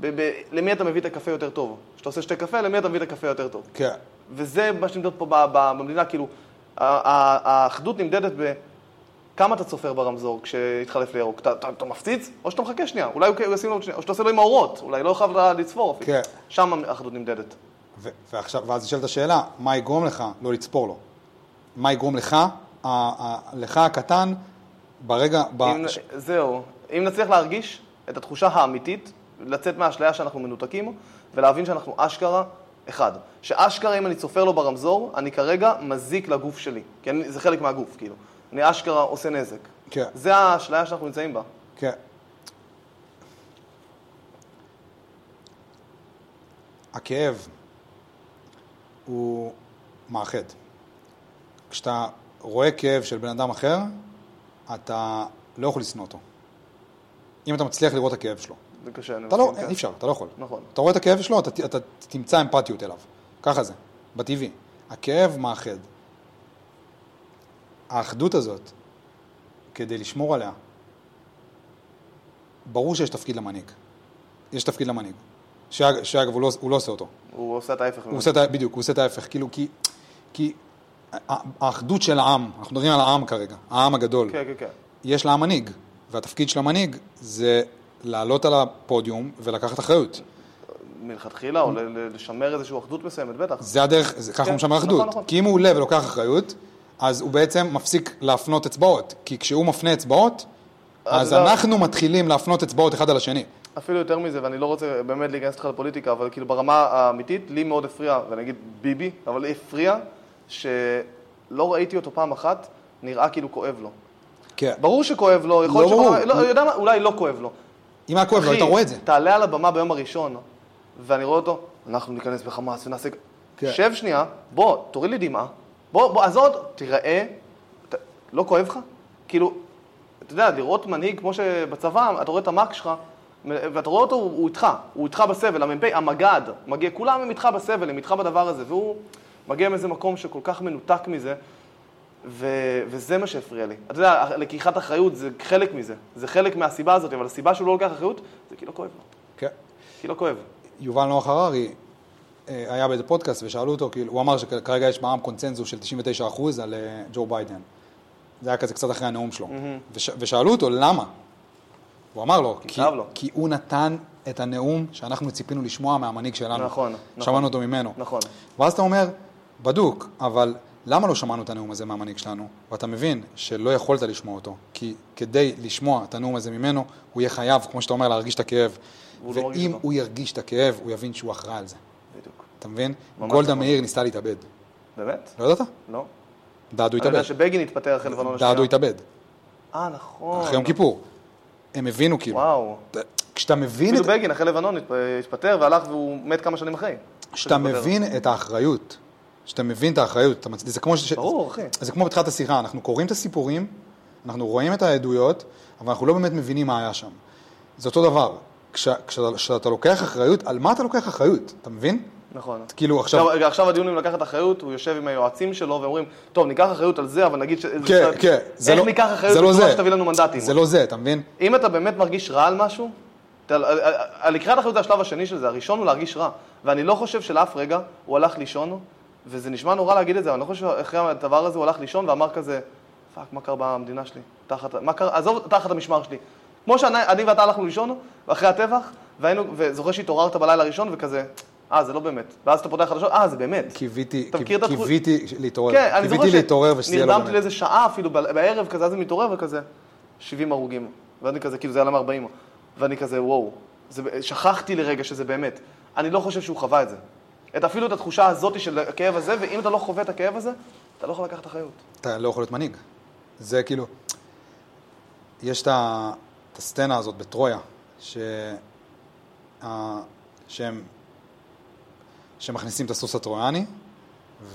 ב... ב... למי אתה מביא את הקפה יותר טוב. כשאתה עושה שתי קפה, למי אתה מביא את הקפה יותר טוב.
כן.
וזה מה שנמדד פה ב- ב- במדינה, כאילו, ה- ה- האחדות נמדדת ב... כמה אתה צופר ברמזור כשהתחלף לירוק? אתה, אתה, אתה מפציץ? או שאתה מחכה שנייה, אולי הוא הוא ישים לו עוד שנייה, או שאתה עושה לו עם האורות, אולי לא חייב לצפור אפילו.
כן.
שם האחדות נמדדת.
ו- ועכשיו, ואז נשאלת השאלה, מה יגרום לך לא לצפור לו? מה יגרום לך, ה- ה- לך הקטן, ברגע, ב-
אם,
אה, ש-
זהו, אם נצליח להרגיש את התחושה האמיתית, לצאת מהאשליה שאנחנו מנותקים, ולהבין שאנחנו אשכרה, אחד, שאשכרה אם אני צופר לו ברמזור, אני כרגע מזיק לגוף שלי, כי אני, זה חלק מהגוף, כאילו. אני אשכרה עושה נזק.
כן.
זה האשליה שאנחנו נמצאים בה.
כן. הכאב הוא מאחד. כשאתה רואה כאב של בן אדם אחר, אתה לא יכול לשנוא אותו. אם אתה מצליח לראות את הכאב שלו.
זה קשה, אני
אתה לא,
מסכים, כן.
אי אפשר, אתה לא יכול.
נכון.
אתה רואה את הכאב שלו, אתה, אתה תמצא אמפתיות אליו. ככה זה, בטבעי. הכאב מאחד. האחדות הזאת, כדי לשמור עליה, ברור שיש תפקיד למנהיג. יש תפקיד למנהיג. שאג- שאגב, הוא לא, הוא לא עושה אותו.
הוא עושה את ההפך
הוא
ממנו.
עושה את ה... בדיוק, הוא עושה את ההפך. כאילו, כי... כי ה- ה- האחדות של העם, אנחנו מדברים על העם כרגע, העם הגדול.
כן, כן, כן.
יש לה מנהיג, והתפקיד של המנהיג זה לעלות על הפודיום ולקחת אחריות.
מלכתחילה, או ל- ל- לשמר איזושהי אחדות מסוימת, בטח.
זה הדרך, זה, ככה
כן,
הוא משמר
נכון,
אחדות.
נכון.
כי אם הוא עולה ולוקח אחריות, אז הוא בעצם מפסיק להפנות אצבעות. כי כשהוא מפנה אצבעות, אז
לא.
אנחנו מתחילים להפנות אצבעות אחד על השני.
אפילו יותר מזה, ואני לא רוצה באמת להיכנס איתך לפוליטיקה, אבל כאילו ברמה האמיתית, לי מאוד הפריע, ואני אגיד ביבי, אבל הפריע שלא ראיתי אותו פעם אחת, נראה כאילו כואב לו.
כן.
ברור שכואב לו, יכול
לא
להיות
ברור.
שברמה- לא, יודע מה, אולי לא כואב לו.
אם היה כואב לו,
אחי,
היית רואה את זה.
תעלה על הבמה ביום הראשון, ואני רואה אותו, אנחנו ניכנס בחמאס ונעשה...
כן.
שב שנייה, בוא, תוריד לי דמעה. בוא, בוא, עזוב, תיראה. ת... לא כואב לך? כאילו, אתה יודע, לראות מנהיג כמו שבצבא, אתה רואה את המאק שלך, ואתה רואה אותו, הוא איתך, הוא איתך בסבל, המ"פ, המג"ד, מגיע, כולם הם איתך בסבל, הם איתך בדבר הזה, והוא מגיע מאיזה מקום שכל כך מנותק מזה, ו- וזה מה שהפריע לי. אתה יודע, לקיחת אחריות זה חלק מזה. זה חלק מהסיבה הזאת, אבל הסיבה שהוא לא לוקח אחריות, זה כי לא כואב לו.
כן.
כי לא כואב.
יובל נוח הררי אה, היה באיזה פודקאסט ושאלו אותו, כאילו, הוא אמר שכרגע יש בעם קונצנזוס של 99% על אה, ג'ו ביידן. זה היה כזה קצת אחרי הנאום שלו. וש, ושאלו אותו, למה? הוא אמר לו, כי,
כאב לו.
כי הוא נתן את הנאום שאנחנו ציפינו לשמוע מהמנהיג שלנו.
נכון, נכון.
שמענו אותו ממנו.
נכון.
ואז אתה אומר, בדוק, אבל למה לא שמענו את הנאום הזה מהמנהיג שלנו? ואתה מבין שלא יכולת לשמוע אותו, כי כדי לשמוע את הנאום הזה ממנו, הוא יהיה חייב, כמו שאתה אומר, להרגיש את הכאב.
והוא לא מרגיש
ואם
אותו.
הוא ירגיש את הכאב, הוא יבין שהוא אחראי על זה.
בדיוק.
אתה מבין?
ממש
גולדה
נכון.
מאיר ניסתה להתאבד.
באמת?
לא ידעת?
לא.
דאדו
אני יודע לא
התאבד.
שבגין התפטר אחרי לבנון השנייה.
דאדו התאבד.
אה, נכון.
אחרי יום כיפור. הם הבינו כאילו.
וואו.
כשאתה מבין
אפילו
את...
בגין אחרי לבנון התפ- התפטר והלך והוא מת כמה שנים אחרי.
כשאתה
שהוא התפטר.
מבין את האחריות, כשאתה מבין את האחריות, אתה מצ... זה כמו ש...
ברור, אחי.
זה כמו בתחילת השיחה, אנחנו קוראים את הסיפורים, אנחנו רואים את העדויות, אבל אנחנו לא באמת מבינים מה היה שם. זה אותו דבר. כש- כשאתה כשאתה לוקח אחריות, על מה אתה לוקח אחריות? אתה מבין?
נכון.
כאילו עכשיו...
עכשיו, רגע, עכשיו הדיון אם לקחת אחריות, הוא יושב עם היועצים שלו ואומרים, טוב, ניקח אחריות על זה, אבל נגיד ש...
כן, כן. זה
איך
לא-
ניקח אחריות
זה לא
בצורה
זה.
שתביא לנו מנדטים?
זה לא זה, אתה מבין?
אם אתה באמת מרגיש רע על משהו, אתה- על- על- על לקראת אחריות זה השלב השני של זה, הראשון הוא להרגיש רע. ואני לא חושב שלאף רגע הוא הלך לישון, וזה נשמע נורא להגיד את זה, אבל אני לא חושב שאחרי הדבר הזה הוא הלך לישון ואמר כזה, פאק, מה קרה במדינה שלי? תחת, מה קרה, עזוב, תחת המשמר שלי. כמו שאני אני ואתה הלכנו לישון, אחרי הטבח, והיינו, וזוכר שהתעוררת בלילה הראשון וכזה, אה, זה לא באמת. ואז אתה פותח חדשות, אה, זה באמת.
קיוויתי,
אתה מכיר את התחוש-
קיוויתי להתעורר.
כן, אני זוכר
קיוויתי להתעורר ושזה לא
שנרדמתי
באמת.
לאיזה שעה אפילו ב- בערב כזה, אז אני מתעורר וכזה, 70 הרוגים. ואני כזה, כאילו זה היה למה 40. ואני כזה, וואו. זה, שכחתי לרגע שזה באמת. אני לא חושב שהוא חווה את זה. את אפילו את התחושה הזאת של הכאב הזה, ואם אתה לא חווה את הכאב הזה, אתה לא יכול לקחת אחריות.
אתה לא יכול להיות מנהיג. זה כאילו... יש את ה- את הסצנה הזאת בטרויה, ש... ה- שהם... שמכניסים את הסוס הטרויאני,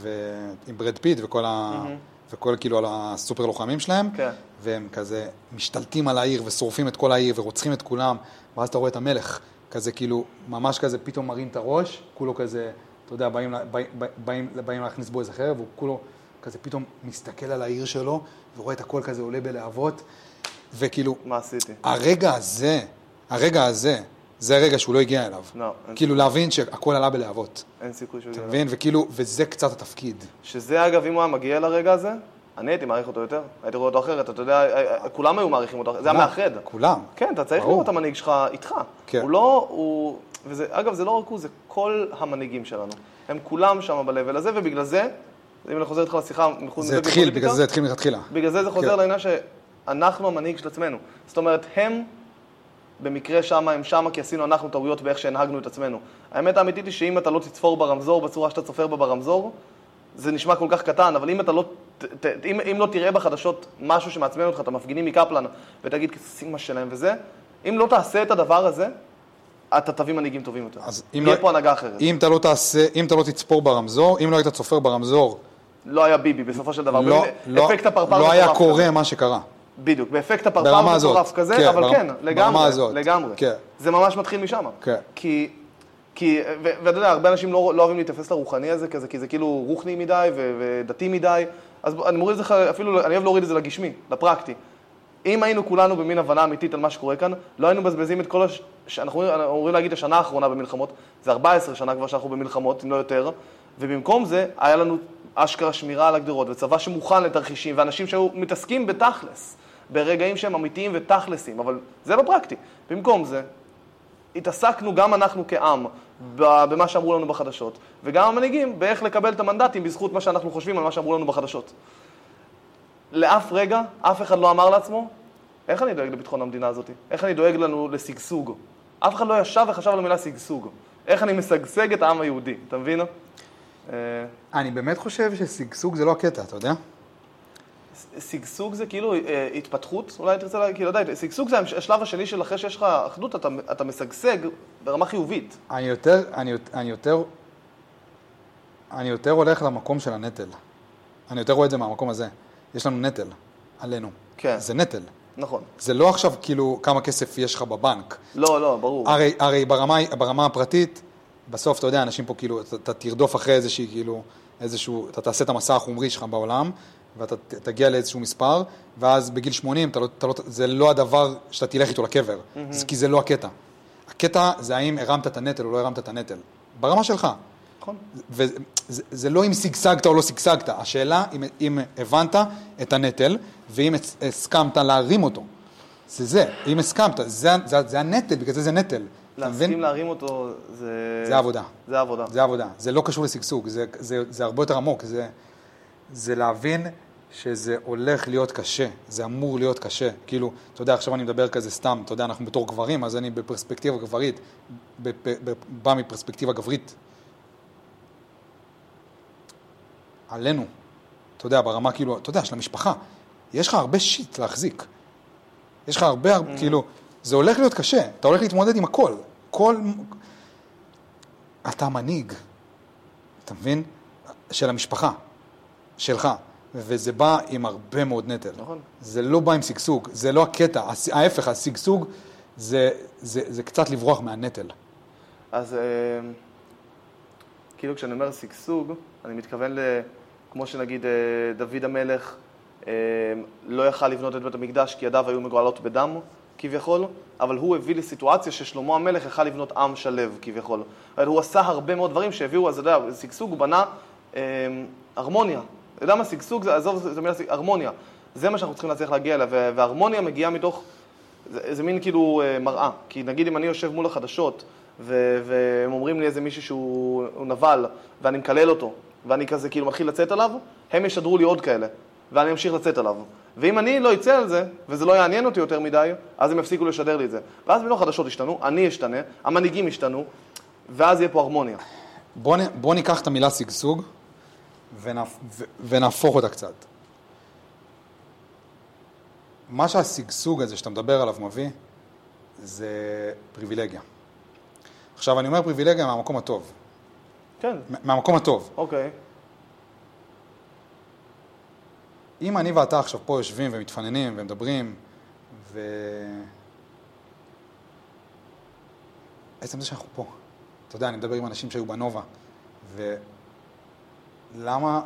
ועם ברד פיט וכל ה... וכל כאילו על הסופר לוחמים שלהם,
כן.
והם כזה משתלטים על העיר ושורפים את כל העיר ורוצחים את כולם, ואז אתה רואה את המלך, כזה כאילו, ממש כזה פתאום מרים את הראש, כולו כזה, אתה יודע, באים, לה- באים, באים, באים להכניס בו איזה חרב, הוא כולו כזה פתאום מסתכל על העיר שלו, ורואה את הכל כזה עולה בלהבות, וכאילו,
מה עשיתי?
הרגע הזה, הרגע הזה, זה הרגע שהוא לא הגיע אליו.
לא, אין- לא.
כאילו להבין שהכל עלה בלהבות,
אין סיכוי שהוא
אתה
יגיע.
מבין? וכאילו, וזה קצת התפקיד.
שזה אגב, אם הוא היה מגיע לרגע הזה, אני הייתי מעריך אותו יותר. הייתי רואה אותו אחרת, אתה יודע, אה, כולם היו מעריכים אותו, אחרת. זה היה מאחד.
כולם.
כן, אתה צריך
ברור.
לראות את המנהיג שלך איתך.
כן.
הוא לא, הוא... וזה, אגב, זה לא רק הוא, זה כל המנהיגים שלנו. הם כולם שם ב-level הזה, ובגלל זה, אם אני חוזר איתך לשיחה מחוץ
זה התחיל, בגלל זה זה התחיל מלכתחילה.
בגלל זה זה חוזר
כן.
לעניין שאנחנו המנהיג של עצמנו. זאת אומרת, הם במקרה שמה הם שמה כי עשינו אנחנו טעויות באיך שהנהגנו את עצמנו. האמת האמיתית היא שאם אתה לא תצפור ברמזור בצורה שאתה צופר בה ברמזור, זה נשמע כל כך קטן, אבל אם אתה לא, ת, ת, אם, אם לא תראה בחדשות משהו שמעצבן אותך, את המפגינים מקפלן, ותגיד סימה שלהם וזה, אם לא תעשה את הדבר הזה, אתה תביא מנהיגים טובים יותר.
אז אם
תהיה
לא-
פה הנהגה אחרת.
אם אתה לא תעשה, אם אתה לא תצפור ברמזור, אם לא היית צופר ברמזור,
לא היה ביבי בסופו של דבר.
לא,
במין
לא,
אפקט הפרפר
לא היה
מטורף כזה.
קורה מה שקרה.
בדיוק, באפקט הפרפר
ברמה
מטורף
הזאת,
כזה,
כן,
אבל
ברמה-
כן,
ברמה
לגמרי,
הזאת,
לגמרי.
כן.
זה ממש מתחיל משם.
כן.
כי, כי ו- ואתה יודע, הרבה אנשים לא, לא אוהבים להתייחס לרוחני הזה, כזה, כי זה כאילו רוחני מדי ו- ודתי מדי, אז בוא- אני מוריד את זה, לך- אפילו, אני אוהב להוריד את זה לגשמי, לפרקטי. אם היינו כולנו במין הבנה אמיתית על מה שקורה כאן, לא היינו מבזבזים את כל הש... שאנחנו אומרים- אנחנו אמורים להגיד השנה האחרונה במלחמות, זה 14 שנה כבר שאנחנו במלחמות, אם לא יותר, ובמקום זה היה לנו אשכרה שמירה על הגדרות, וצבא שמוכן לתרחישים, ואנשים שהיו מתעסקים בתכלס, ברגעים שהם אמיתיים ותכלסים, אבל זה בפרקטי. במקום זה, התעסקנו גם אנחנו כעם ב- במה שאמרו לנו בחדשות, וגם המנהיגים באיך לקבל את המנדטים בזכות מה שאנחנו חושבים על מה שאמרו לנו בחדשות. לאף רגע, אף אחד לא אמר לעצמו, איך אני דואג לביטחון המדינה הזאת? איך אני דואג לנו לשגשוג? אף אחד לא ישב וחשב על המילה שגשוג. איך אני משגשג את העם היהודי, אתה מבין? אה,
אני באמת חושב ששגשוג זה לא הקטע, אתה יודע?
שגשוג זה כאילו אה, התפתחות, אולי תרצה להגיד, כאילו, לא יודע, שגשוג זה השלב השני של אחרי שיש לך אחדות, אתה, אתה משגשג ברמה חיובית.
אני יותר, אני, יות- אני יותר, אני יותר הולך למקום של הנטל. אני יותר רואה את זה מהמקום הזה. יש לנו נטל, עלינו.
כן.
זה נטל.
נכון.
זה לא עכשיו כאילו כמה כסף יש לך בבנק.
לא, לא, ברור.
הרי, הרי ברמה, ברמה הפרטית, בסוף, אתה יודע, אנשים פה כאילו, אתה, אתה תרדוף אחרי איזושהי, כאילו, איזשהו, אתה תעשה את המסע החומרי שלך בעולם, ואתה ת- תגיע לאיזשהו מספר, ואז בגיל 80 אתה לא, אתה לא, זה לא הדבר שאתה תלך איתו לקבר, mm-hmm. כי זה לא הקטע. הקטע זה האם הרמת את הנטל או לא הרמת את הנטל, ברמה שלך.
נכון.
וזה זה- זה לא אם שגשגת או לא שגשגת, השאלה אם, אם הבנת את הנטל, ואם הס- הסכמת להרים אותו. זה זה, אם הסכמת, זה, זה, זה הנטל, בגלל זה זה נטל. אתה מבין?
להסכים להרים אותו זה...
זה עבודה.
זה עבודה.
זה עבודה, זה לא קשור לשגשוג, זה, זה, זה הרבה יותר עמוק, זה, זה להבין שזה הולך להיות קשה, זה אמור להיות קשה. כאילו, אתה יודע, עכשיו אני מדבר כזה סתם, אתה יודע, אנחנו בתור גברים, אז אני בפרספקטיבה גברית, בפ, בפ, בא מפרספקטיבה גברית. עלינו, אתה יודע, ברמה כאילו, אתה יודע, של המשפחה, יש לך הרבה שיט להחזיק. יש לך הרבה, הרבה כאילו, זה הולך להיות קשה, אתה הולך להתמודד עם הכל. כל, אתה מנהיג, אתה מבין? של המשפחה, שלך, וזה בא עם הרבה מאוד נטל.
נכון.
זה לא בא עם שגשוג, זה לא הקטע, הס- ההפך, השגשוג זה, זה, זה קצת לברוח מהנטל.
אז אה, כאילו כשאני אומר שגשוג, אני מתכוון ל... כמו שנגיד אה, דוד המלך אה, לא יכל לבנות את בית המקדש כי ידיו היו מגואלות בדם, כביכול, אבל הוא הביא לסיטואציה ששלמה המלך יכל לבנות עם שלו, כביכול. אבל הוא עשה הרבה מאוד דברים שהביאו, אז אתה יודע, שגשוג הוא בנה אה, הרמוניה. אתה יודע מה שגשוג זה, עזוב, זו מילה, שג- הרמוניה. זה מה שאנחנו צריכים להצליח להגיע אליו, וה- וההרמוניה מגיעה מתוך זה, זה מין כאילו אה, מראה. כי נגיד אם אני יושב מול החדשות, ו- והם אומרים לי איזה מישהו שהוא הוא נבל, ואני מקלל אותו, ואני כזה כאילו מתחיל לצאת עליו, הם ישדרו לי עוד כאלה, ואני אמשיך לצאת עליו. ואם אני לא אצא על זה, וזה לא יעניין אותי יותר מדי, אז הם יפסיקו לשדר לי את זה. ואז פתאום החדשות ישתנו, אני אשתנה, המנהיגים ישתנו, ואז יהיה פה הרמוניה.
בוא, נ- בוא ניקח את המילה שגשוג ונהפ, ו, ונהפוך אותה קצת. מה שהשגשוג הזה שאתה מדבר עליו מביא, זה פריבילגיה. עכשיו, אני אומר פריבילגיה מהמקום הטוב.
כן,
מה- מהמקום הטוב.
אוקיי.
אם אני ואתה עכשיו פה יושבים ומתפננים ומדברים, ו... עצם זה שאנחנו פה, אתה יודע, אני מדבר עם אנשים שהיו בנובה, ולמה,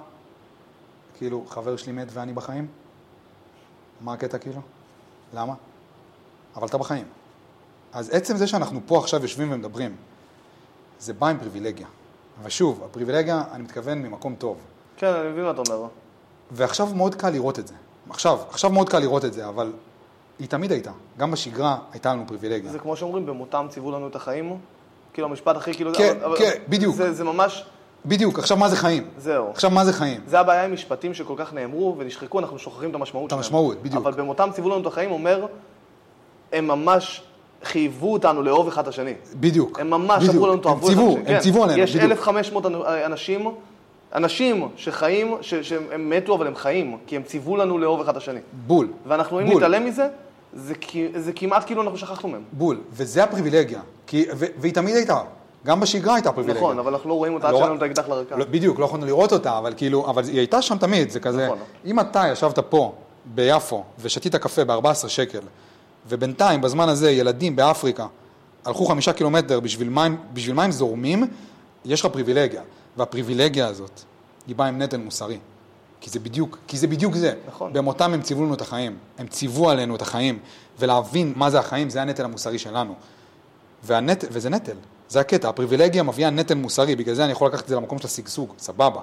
כאילו, חבר שלי מת ואני בחיים? מה הקטע כאילו? למה? אבל אתה בחיים. אז עצם זה שאנחנו פה עכשיו יושבים ומדברים, זה בא עם פריבילגיה. ושוב, הפריבילגיה, אני מתכוון ממקום טוב.
כן, אני מבין מה אתה אומר.
ועכשיו מאוד קל לראות את זה. עכשיו, עכשיו מאוד קל לראות את זה, אבל היא תמיד הייתה. גם בשגרה הייתה לנו פריבילגיה.
זה כמו שאומרים, במותם ציוו לנו את החיים. כאילו המשפט הכי כאילו...
כן,
אבל- אבל-
כן, בדיוק.
זה, זה ממש,
בדיוק, עכשיו מה זה חיים?
זהו.
עכשיו מה זה חיים?
זה הבעיה עם משפטים שכל כך נאמרו ונשחקו, אנחנו שוכחים את המשמעות
את
שלהם.
המשמעות, בדיוק.
אבל במותם ציוו לנו את החיים אומר, הם ממש חייבו אותנו לאהוב אחד את השני.
בדיק.
הם ממש
בדיוק.
אמרו לנו,
הם
תאהבו את
ציוו,
השני.
הם
כן.
ציוו עלינו,
יש
בדיוק.
1,500 אנ- אנשים, אנשים שחיים, ש- שהם מתו אבל הם חיים, כי הם ציוו לנו לאהוב אחד את השני.
בול.
ואנחנו, אם
בול.
נתעלם מזה, זה כי- זה כמעט כאילו אנחנו שכחנו מהם.
בול. וזה הפריבילגיה. כי, ו, והיא תמיד הייתה. גם בשגרה הייתה פריבילגיה.
נכון, אבל אנחנו לא רואים אותה עד
לא-
שלנו את האקדח לרקה.
לא, בדיוק, לא יכולנו לראות אותה, אבל כאילו, אבל היא הייתה שם תמיד, זה כזה,
נכון.
אם אתה ישבת פה, ביפו, ושתית קפה ב-14 שקל, ובינתיים, בזמן הזה, ילדים באפריקה הלכו חמישה קילומטר בשביל מים, בשביל מים זורמים, יש לך פריבילגיה. והפריבילגיה הזאת, היא באה עם נטל מוסרי. כי זה בדיוק, כי זה בדיוק זה.
נכון.
במותם הם ציוו לנו את החיים. הם ציוו עלינו את החיים. ולהבין מה זה החיים, זה הנטל המוסרי שלנו. והנט... וזה נטל, זה הקטע, הפריבילגיה מביאה נטל מוסרי, בגלל זה אני יכול לקחת את זה למקום של השגשוג, סבבה.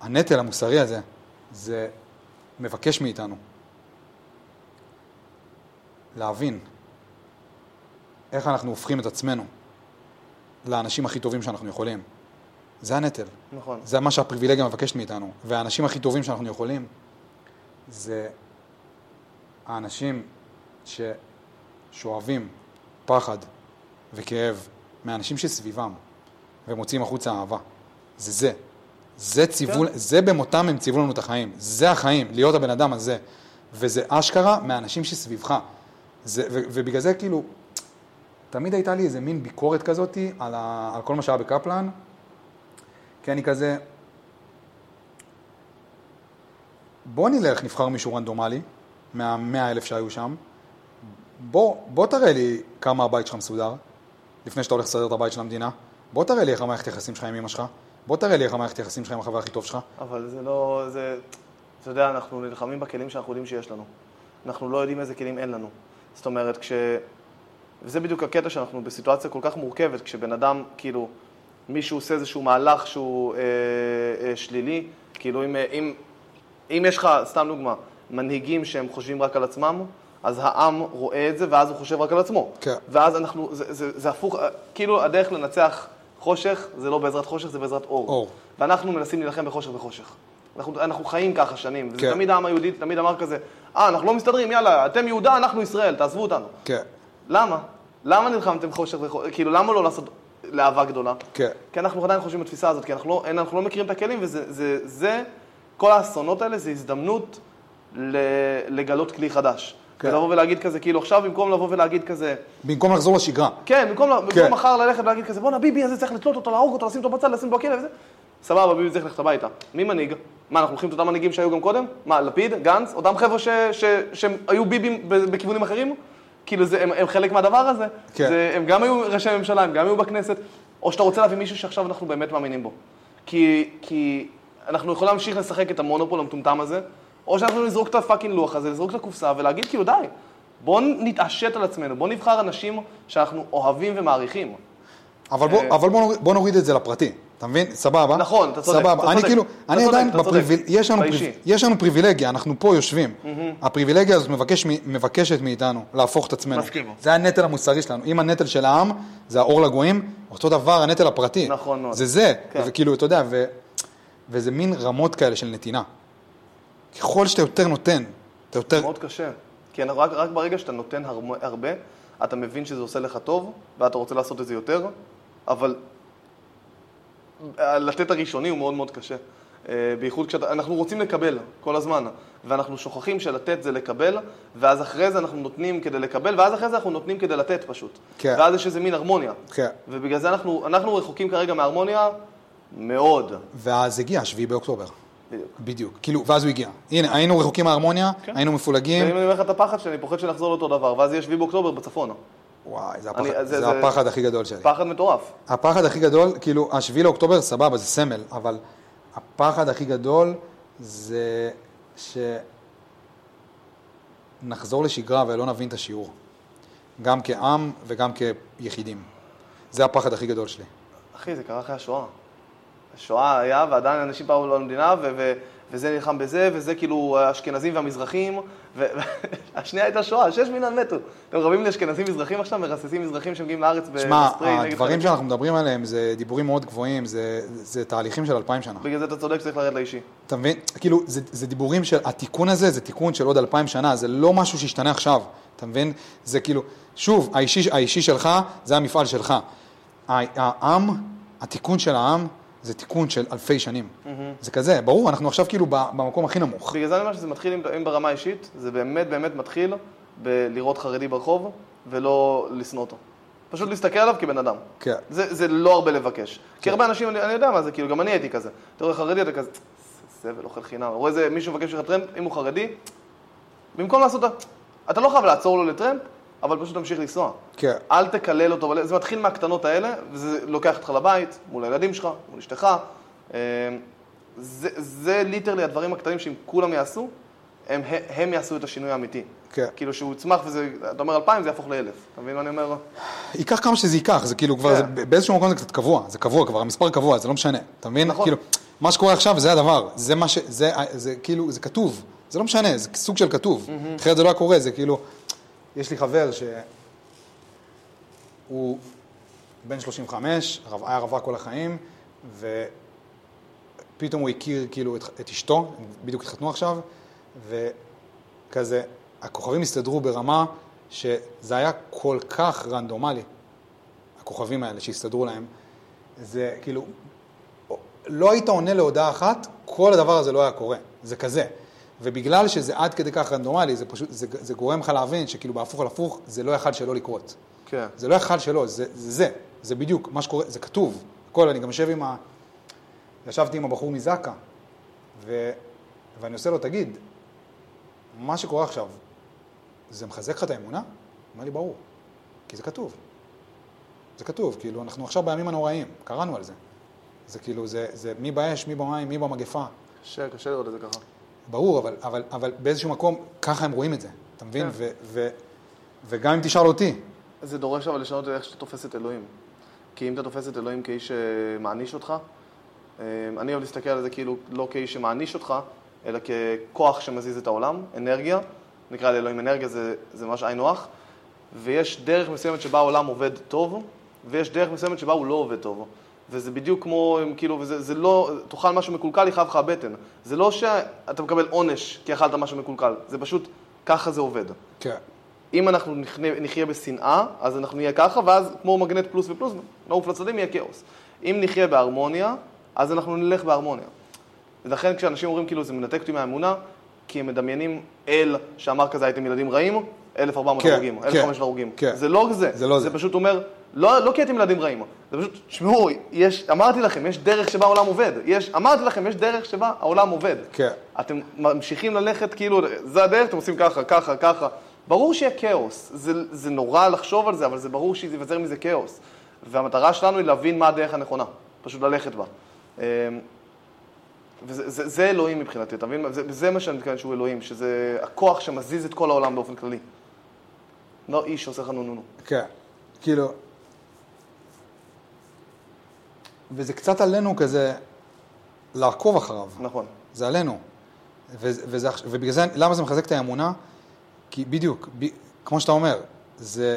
הנטל המוסרי הזה, זה מבקש מאיתנו להבין איך אנחנו הופכים את עצמנו לאנשים הכי טובים שאנחנו יכולים. זה הנטל,
נכון.
זה מה שהפריבילגיה מבקשת מאיתנו, והאנשים הכי טובים שאנחנו יכולים, זה האנשים ש... שואבים פחד וכאב מהאנשים שסביבם ומוציאים החוצה אהבה. זה זה. זה ציוו,
כן.
זה במותם הם ציוו לנו את החיים. זה החיים, להיות הבן אדם הזה. וזה אשכרה מהאנשים שסביבך. זה, ו, ובגלל זה כאילו, תמיד הייתה לי איזה מין ביקורת כזאת על, ה, על כל מה שהיה בקפלן, כי אני כזה, בוא נלך, נבחר מישהו רנדומלי, מהמאה אלף שהיו שם, בוא, בוא תראה לי כמה הבית שלך מסודר, לפני שאתה הולך לסדר את הבית של המדינה. בוא תראה לי איך המערכת יחסים שלך עם אמא שלך. בוא תראה לי איך המערכת יחסים שלך עם החבר הכי טוב שלך.
אבל זה לא, זה, אתה יודע, אנחנו נלחמים בכלים שאנחנו יודעים שיש לנו. אנחנו לא יודעים איזה כלים אין לנו. זאת אומרת, כש... וזה בדיוק הקטע שאנחנו בסיטואציה כל כך מורכבת, כשבן אדם, כאילו, מישהו עושה איזשהו מהלך שהוא אה, אה, שלילי, כאילו, אם, אה, אם, אם יש לך, סתם דוגמה, מנהיגים שהם חושבים רק על עצמם, אז העם רואה את זה, ואז הוא חושב רק על עצמו.
כן.
ואז אנחנו, זה, זה, זה הפוך, אה, כאילו, הדרך לנצח חושך, זה לא בעזרת חושך, זה בעזרת אור.
אור.
ואנחנו מנסים להילחם בחושך בחושך. אנחנו, אנחנו חיים ככה שנים, וזה
כן.
תמיד העם היהודי תמיד אמר כזה, אה, אנחנו לא מסתדרים, יאללה, אתם יהודה, אנחנו ישראל, תעזבו אותנו.
כן,
למה? למה נלחמתם חושך וחושך? כאילו, למה לא לעשות להבה גדולה?
כן.
כי אנחנו עדיין חושבים בתפיסה הזאת, כי אנחנו לא, אין, אנחנו לא מכירים את הכלים, וזה, זה, זה, כל האסונות האלה זה הזדמנות ל, לגלות כלי חדש.
כן.
כן. ולבוא ולהגיד כזה, כאילו עכשיו במקום לבוא ולהגיד כזה,
במקום לחזור לשגרה.
כן, במקום, כן.
כן.
במקום מחר ללכת ולהגיד כזה, בואנה ביבי הזה צריך לתלות אותו, להרוג אותו, לשים אותו בצד, לשים אותו בכלא וזה, סבבה, ביבי צריך ללכת הביתה. מי מנהיג? מה, אנחנו לוקחים את אותם מנהיגים שהיו גם קודם? מה, לפיד, גנץ, אותם חבר'ה ש- ש- שהם היו ביבים ב- בכיוונים אחרים? כאילו, זה, הם, הם חלק מהדבר הזה.
כן.
זה, הם גם היו ראשי ממשלה, הם גם היו בכנסת. או שאתה רוצה להביא מישהו שעכשיו אנחנו באמת מאמינים בו. כי, כי אנחנו יכולים להמשיך לשחק את המונופול המטומטם הזה, או שאנחנו נזרוק את הפאקינג לוח הזה, נזרוק את הקופסה ולהגיד כאילו די, בואו נתעשת על עצמנו, בואו נבחר אנשים שאנחנו אוהבים ומעריכים.
אבל, בוא,
אה.
אבל בוא, נוריד, בוא נוריד את זה לפרטי, אתה מבין? סבבה.
נכון, אתה צודק,
סבבה.
אתה
אני
צודק,
כאילו,
אתה
אני
צודק,
עדיין
אתה צודק.
בפריביל... יש, לנו
באישי.
פריב... יש לנו פריבילגיה, אנחנו פה יושבים. הפריבילגיה הזאת מבקש, מ- מבקשת מאיתנו להפוך את עצמנו.
מסכים.
זה הנטל המוסרי שלנו. אם הנטל של העם זה האור לגויים, אותו דבר הנטל הפרטי.
נכון מאוד.
זה זה,
כן.
וכאילו, אתה יודע, ו... וזה מין רמות כאלה של נתינה. ככל שאתה יותר נותן, אתה יותר...
מאוד קשה. כי אנחנו- רק, רק ברגע שאתה נותן הרמ- הרבה, אתה מבין שזה עושה לך טוב, ואתה רוצה לעשות את זה יותר, אבל אה, לתת הראשוני הוא מאוד מאוד קשה. אה, בייחוד כשאנחנו רוצים לקבל כל הזמן, ואנחנו שוכחים שלתת זה לקבל, ואז אחרי זה אנחנו נותנים כדי לקבל, ואז אחרי זה אנחנו נותנים כדי לתת פשוט.
כן.
ואז יש איזה מין הרמוניה.
כן.
ובגלל זה אנחנו, אנחנו רחוקים כרגע מההרמוניה מאוד.
ואז הגיע 7 באוקטובר.
בדיוק.
בדיוק. כאילו, ואז הוא הגיע. הנה, היינו רחוקים מההרמוניה, היינו מפולגים.
ואם אני אומר לך את הפחד שאני פוחד שנחזור לאותו דבר, ואז יהיה 7 באוקטובר בצפון.
וואי, זה,
אני-
הפחד, זה,
זה- זה-
הפחד הכי גדול שלי.
פחד מטורף.
הפחד הכי גדול, כאילו, השביעי לאוקטובר, סבבה, זה סמל, אבל הפחד הכי גדול זה שנחזור לשגרה ולא נבין את השיעור. גם כעם וגם כיחידים. זה הפחד הכי גדול שלי.
אחי, זה קרה אחרי השואה. השואה היה, ועדיין אנשים באו לא למדינה, ו- ו- וזה נלחם בזה, וזה כאילו האשכנזים והמזרחים, והשנייה הייתה שואה, שש מיליון מתו. אתם רבים לאשכנזים מזרחים עכשיו, מרססים מזרחים שמגיעים לארץ ב-
שמע,
בספרי נגד
הדברים
חרדים.
שאנחנו מדברים עליהם זה דיבורים מאוד גבוהים, זה, זה תהליכים של אלפיים שנה.
בגלל זה אתה צודק שצריך לרדת לאישי.
אתה מבין? כאילו, זה, זה דיבורים של, התיקון הזה זה תיקון של עוד אלפיים שנה, זה לא משהו שהשתנה עכשיו, אתה מבין? זה כאילו, שוב, האישי, האישי שלך זה המפעל שלך. ה- העם, התיקון של העם זה תיקון של אלפי שנים. זה כזה, ברור, אנחנו עכשיו כאילו ב- במקום הכי נמוך.
בגלל זה אני אומר שזה מתחיל, אם- אם ברמה אישית, זה באמת באמת מתחיל בלראות חרדי ברחוב, ולא לשנוא אותו. פשוט להסתכל עליו כבן אדם.
כן.
זה, זה לא הרבה לבקש. כי הרבה אנשים, אני, אני יודע מה זה, כאילו, גם אני הייתי כזה. אתה רואה חרדי, אתה כזה, "זה סבל, אוכל חינם. רואה איזה מישהו מבקש לך טרמפ, אם הוא חרדי, במקום לעשות... את ה- אתה לא חייב לעצור לו לטרמפ, אבל פשוט תמשיך לנסוע.
כן.
אל תקלל אותו, אבל זה מתחיל מהקטנות האלה, וזה לוקח אותך לבית, מול הילדים שלך, מול אשתך. אה, זה, זה ליטרלי הדברים הקטנים שאם כולם יעשו, הם, הם יעשו את השינוי האמיתי.
כן.
כאילו שהוא יצמח וזה, אתה אומר אלפיים, זה יהפוך לאלף. אתה מבין מה אני אומר?
ייקח כמה שזה ייקח, זה כאילו כבר,
כן.
זה, באיזשהו מקום זה קצת קבוע, זה קבוע כבר, המספר קבוע, זה לא משנה, אתה מבין?
נכון.
כאילו, מה שקורה עכשיו זה הדבר, זה מה ש... זה, זה כאילו, זה כתוב, זה לא משנה, זה סוג של כתוב, אחרת זה לא היה קורה, זה כאילו... יש לי חבר שהוא בן 35, רב, היה רווק כל החיים, ופתאום הוא הכיר כאילו את, את אשתו, הם בדיוק התחתנו עכשיו, וכזה, הכוכבים הסתדרו ברמה שזה היה כל כך רנדומלי. הכוכבים האלה שהסתדרו להם, זה כאילו, לא היית עונה להודעה אחת, כל הדבר הזה לא היה קורה. זה כזה. ובגלל שזה עד כדי כך רנדומלי, זה פשוט, זה, זה גורם לך להבין שכאילו בהפוך על הפוך, זה לא יכל שלא לקרות.
כן.
זה לא יכל שלא, זה, זה זה, זה בדיוק מה שקורה, זה כתוב. הכל, אני גם יושב עם ה... ישבתי עם הבחור מזק"א, ו... ואני עושה לו, תגיד, מה שקורה עכשיו, זה מחזק לך את האמונה? הוא אומר לי, ברור, כי זה כתוב. זה כתוב, כאילו, אנחנו עכשיו בימים הנוראים, קראנו על זה. זה כאילו, זה, זה מי באש, מי במים, מי במגפה.
קשה, קשה לראות את זה ככה.
ברור, אבל, אבל, אבל באיזשהו מקום, ככה הם רואים את זה, אתה מבין? ו, ו, וגם אם תשאל אותי,
זה דורש אבל לשנות איך שאתה תופס את אלוהים. כי אם אתה תופס את אלוהים כאיש שמעניש אותך, אה, אני אוהב להסתכל על זה כאילו לא כאיש שמעניש אותך, אלא ככוח שמזיז את העולם, אנרגיה, נקרא לאלוהים אנרגיה, זה, זה ממש היינו הך, ויש דרך מסוימת שבה העולם עובד טוב, ויש דרך מסוימת שבה הוא לא עובד טוב. וזה בדיוק כמו, הם כאילו, וזה, זה לא, תאכל משהו מקולקל, יכאב לך הבטן. זה לא שאתה מקבל עונש כי אכלת משהו מקולקל, זה פשוט, ככה זה עובד.
כן,
אם אנחנו נחנה- נחיה בשנאה, אז אנחנו נהיה ככה, ואז כמו מגנט פלוס ופלוס, נעוף לצדדים, יהיה כאוס. אם נחיה בהרמוניה, אז אנחנו נלך בהרמוניה. ולכן כשאנשים אומרים כאילו זה מנתק אותי מהאמונה, כי הם מדמיינים אל שאמר כזה הייתם ילדים רעים, 1,400
כן,
הרוגים,
כן,
1,500 הרוגים.
כן.
זה לא זה,
זה לא
זה
זה.
פשוט אומר, לא, לא כי הייתם ילדים רעים, זה פשוט, תשמעו, יש, אמרתי לכם, יש דרך שבה העולם עובד, יש, אמרתי לכם, יש דרך שבה העולם עובד.
כן.
אתם ממשיכים ללכת, כאילו, זה הדרך, אתם עושים ככה, ככה, ככה. ברור שיהיה כאוס, זה, זה נורא לחשוב על זה, אבל זה ברור שייווצר מזה כאוס. והמטרה שלנו היא להבין מה הדרך הנכונה, פשוט ללכת בה. אמ, וזה זה, זה אלוהים מבחינתי, אתה מבין? זה, זה מה שאני מתכוון שהוא אלוהים, שזה הכוח שמזיז את כל העולם באופן כללי. לא איש שעושה לך נו נו נו.
כן. כאילו... וזה קצת עלינו כזה לעקוב אחריו.
נכון.
זה עלינו. וזה, וזה, עכש- ובגלל זה, למה זה מחזק את האמונה? כי בדיוק, ב, כמו שאתה אומר, זה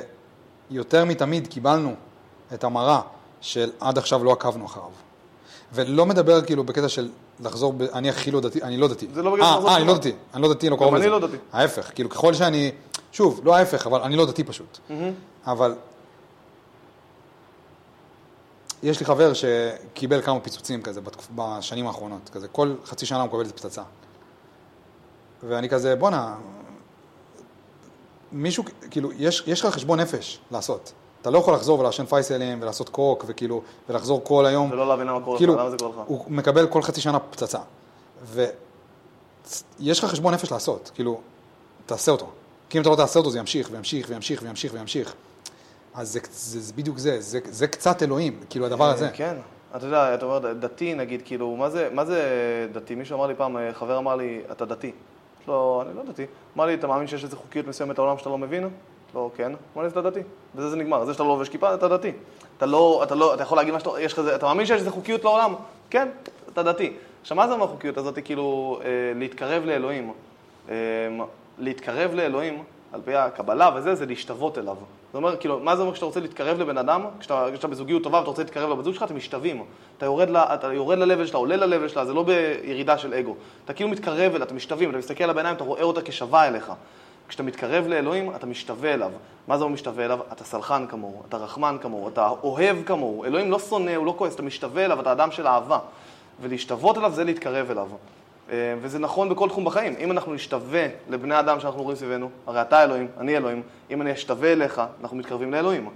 יותר מתמיד קיבלנו את המראה של עד עכשיו לא עקבנו אחריו. ולא מדבר כאילו בקטע של לחזור, ב, אני הכי לא דתי, אני לא דתי.
זה לא בגלל
אה,
לחזור
אה,
בתשובה.
אני לא דתי, אני לא דתי, לא קרוב
אני
לזה.
לא דתי.
ההפך, כאילו ככל שאני, שוב, לא ההפך, אבל אני לא דתי פשוט. אבל יש לי חבר שקיבל כמה פיצוצים כזה בתקופ... בשנים האחרונות, כזה כל חצי שנה הוא מקבל איזה פצצה. ואני כזה, בואנה, מישהו, כאילו, יש, יש לך חשבון נפש לעשות. אתה לא יכול לחזור ולעשן פייסלים ולעשות קוק וכאילו, ולחזור כל היום.
ולא לא להבין למה קורה לך,
כאילו,
למה זה קורה לך.
הוא מקבל כל חצי שנה פצצה. ויש לך חשבון נפש לעשות, כאילו, תעשה אותו. כי אם אתה לא תעשה אותו זה ימשיך וימשיך וימשיך וימשיך וימשיך. אז זה, זה, זה בדיוק זה, זה, זה קצת אלוהים, כאילו הדבר הזה.
כן. אתה יודע, אתה אומר דתי נגיד, כאילו, מה זה, מה זה דתי? מישהו אמר לי פעם, אה, חבר אמר לי, אתה דתי. אמרתי לו, אני לא דתי. אמר לי, אתה מאמין שיש איזו חוקיות מסוימת בעולם שאתה לא מבין? אמרתי לו, כן. אמר לי, אז אתה דתי. בזה זה נגמר. זה שאתה לא לובש כיפה, אתה דתי. אתה לא, אתה לא, אתה יכול להגיד מה שאתה, יש לך איזה, אתה מאמין שיש איזו חוקיות לעולם? כן, אתה דתי. עכשיו, מה זה אומר חוקיות הזאת? כאילו, אה, להתקרב לאלוהים. אה, להתקרב לאלוהים, על פי הקבלה וזה, זה להשתוות אליו. זה אומר, כאילו, מה זה אומר כשאתה רוצה להתקרב לבן אדם? כשאתה, כשאתה בזוגיות טובה ואתה רוצה להתקרב לבת זוג שלך, אתם משתווים. אתה יורד, לה, אתה יורד ללבל שלה, עולה ללבל שלה, זה לא בירידה של אגו. אתה כאילו מתקרב אליה, אתה משתווים, אתה מסתכל על הביניים, אתה רואה אותה כשווה אליך. כשאתה מתקרב לאלוהים, אתה משתווה אליו. מה זה אומר משתווה אליו? אתה סלחן כמוהו, אתה רחמן כמוהו, אתה אוהב כמוהו. אלוהים לא שונא, הוא לא כועס, אתה משתווה אליו, אתה אדם של אהבה. ולהשתוות אליו זה להתקרב אליו. אה, וזה נכון בכל תחום בחיים. אם אנחנו נשתווה לבני אדם שאנחנו רואים סביבנו, הרי אתה אלוהים, אני אלוהים, אם אני אשתווה אליך, אנחנו מתקרבים לאלוהים.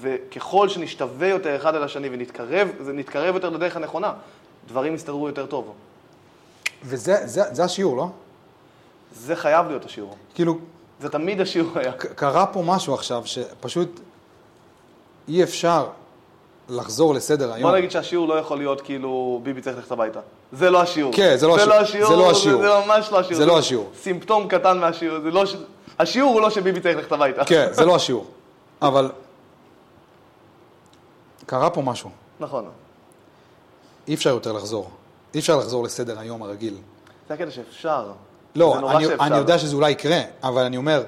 וככל שנשתווה יותר אחד אל השני ונתקרב, זה נתקרב יותר לדרך הנכונה, דברים יסתדרו יותר טוב.
וזה זה, זה השיעור, לא?
זה חייב להיות השיעור.
כאילו,
זה תמיד השיעור היה.
ק- קרה פה משהו עכשיו שפשוט אי אפשר לחזור לסדר היום.
בוא נגיד שהשיעור לא יכול להיות כאילו ביבי צריך ללכת הביתה. זה לא השיעור.
כן, זה לא
זה
השיעור.
לא השיעור.
זה לא השיעור.
זה ממש לא השיעור.
זה לא השיעור.
סימפטום קטן מהשיעור. זה לא... ש- השיעור הוא לא שביבי צריך ללכת הביתה.
כן, זה לא השיעור. אבל קרה פה משהו,
נכון.
אי אפשר יותר לחזור. אי אפשר לחזור לסדר היום הרגיל.
זה הקטע שאפשר.
לא,
זה נורא
אני,
שאפשר.
אני יודע שזה אולי יקרה, אבל אני אומר,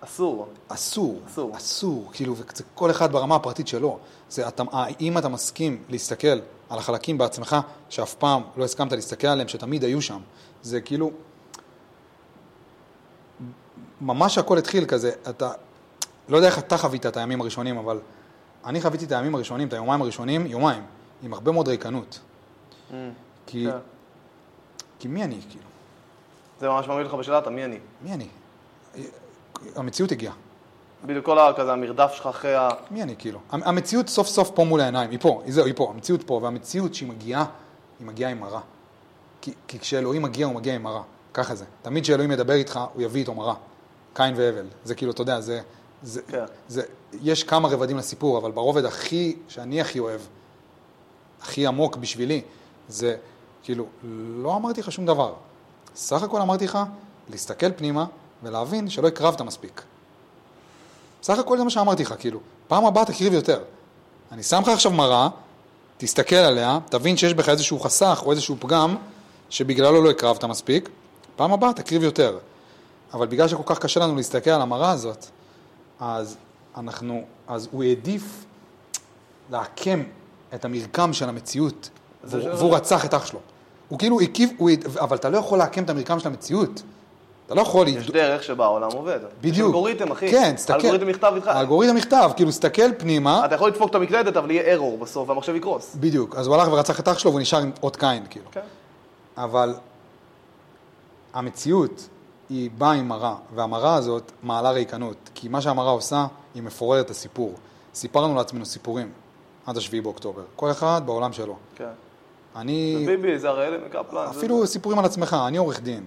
אסור.
אסור,
אסור.
אסור, אסור כאילו, וזה כל אחד ברמה הפרטית שלו. זה, אתה, האם אתה מסכים להסתכל על החלקים בעצמך שאף פעם לא הסכמת להסתכל עליהם, שתמיד היו שם? זה כאילו, ממש הכל התחיל כזה, אתה, לא יודע איך אתה חווית את הימים הראשונים, אבל אני חוויתי את הימים הראשונים, את היומיים הראשונים, יומיים, עם הרבה מאוד ריקנות. כי,
כן.
כי מי אני, כאילו?
זה ממש מעמיד אותך בשאלה, אתה מי אני?
מי אני? המציאות הגיעה.
בדיוק כל ה- כזה המרדף שלך אחרי ה...
מי אני כאילו? המ- המציאות סוף סוף פה מול העיניים, היא פה, היא זהו, היא פה, המציאות פה, והמציאות שהיא מגיעה, היא מגיעה עם מראה. כי, כי כשאלוהים מגיע, הוא מגיע עם מראה, ככה זה. תמיד כשאלוהים ידבר איתך, הוא יביא איתו מראה. קין והבל, זה כאילו, אתה יודע, זה... זה,
כן.
זה יש כמה רבדים לסיפור, אבל ברובד הכי, שאני הכי אוהב, הכי עמוק בשבילי, זה כאילו, לא אמרתי לך שום דבר. סך הכל אמרתי לך להסתכל פנימה ולהבין שלא הקרבת מספיק. סך הכל זה מה שאמרתי לך, כאילו, פעם הבאה תקריב יותר. אני שם לך עכשיו מראה, תסתכל עליה, תבין שיש בך איזשהו חסך או איזשהו פגם שבגללו לא הקרבת מספיק, פעם הבאה תקריב יותר. אבל בגלל שכל כך קשה לנו להסתכל על המראה הזאת, אז אנחנו, אז הוא העדיף לעקם את המרקם של המציאות,
זה לא-
והוא
שלא-
והוא רצח את אח שלו. הוא כאילו הקיב, הוא, הד- אבל אתה לא יכול לעקם את המרקם של המציאות. אתה לא יכול...
יש דרך שבה העולם עובד. יש
בדיוק.
אלגוריתם, אחי.
כן, תסתכל.
אלגוריתם נכתב איתך.
האלגוריתם נכתב, כאילו, תסתכל פנימה.
אתה יכול לדפוק את המקלדת, אבל יהיה ארור בסוף, והמחשב יקרוס.
בדיוק. אז הוא הלך ורצח את אח שלו והוא נשאר עם אות קין, כאילו.
כן.
אבל המציאות היא באה עם מראה, והמראה הזאת מעלה ריקנות, כי מה שהמראה עושה, היא מפוררת את הסיפור. סיפרנו לעצמנו סיפורים עד השביעי באוקטובר, כל אחד בעולם שלו.
כן.
אני,
זה ביבי, זה הראל מקפלן. זה-
אפילו סיפורים על עצמך, אני עורך דין,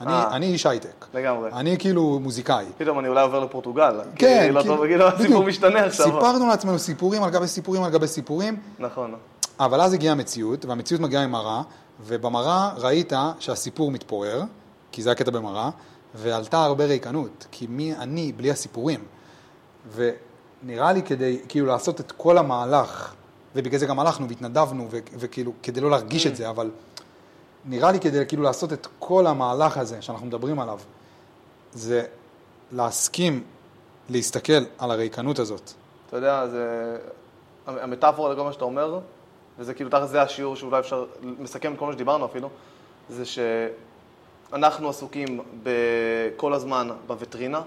אני,
אה.
אני איש הייטק,
לגמרי.
אני כאילו מוזיקאי.
פתאום אני אולי עובר לפורטוגל.
כן,
כי לא
כאילו,
טוב, כאילו הסיפור
בדיוק.
משתנה עכשיו.
סיפרנו לעצמנו סיפורים על גבי סיפורים על גבי סיפורים,
נכון.
אבל אז הגיעה המציאות, והמציאות מגיעה עם מראה, ובמראה ראית שהסיפור מתפורר, כי זה הקטע במראה, ועלתה הרבה ריקנות, כי מי אני בלי הסיפורים? ונראה לי כדי, כאילו, לעשות את כל המהלך, ובגלל זה גם הלכנו והתנדבנו, ו- וכאילו, כדי לא להרגיש את זה, אבל נראה לי כדי כאילו לעשות את כל המהלך הזה שאנחנו מדברים עליו, זה להסכים להסתכל על הריקנות הזאת.
אתה יודע, זה... המטאפורה לכל מה שאתה אומר, וזה כאילו תכל'ס זה השיעור שאולי אפשר לסכם את כל מה שדיברנו אפילו, זה שאנחנו עסוקים ב- כל הזמן בווטרינה,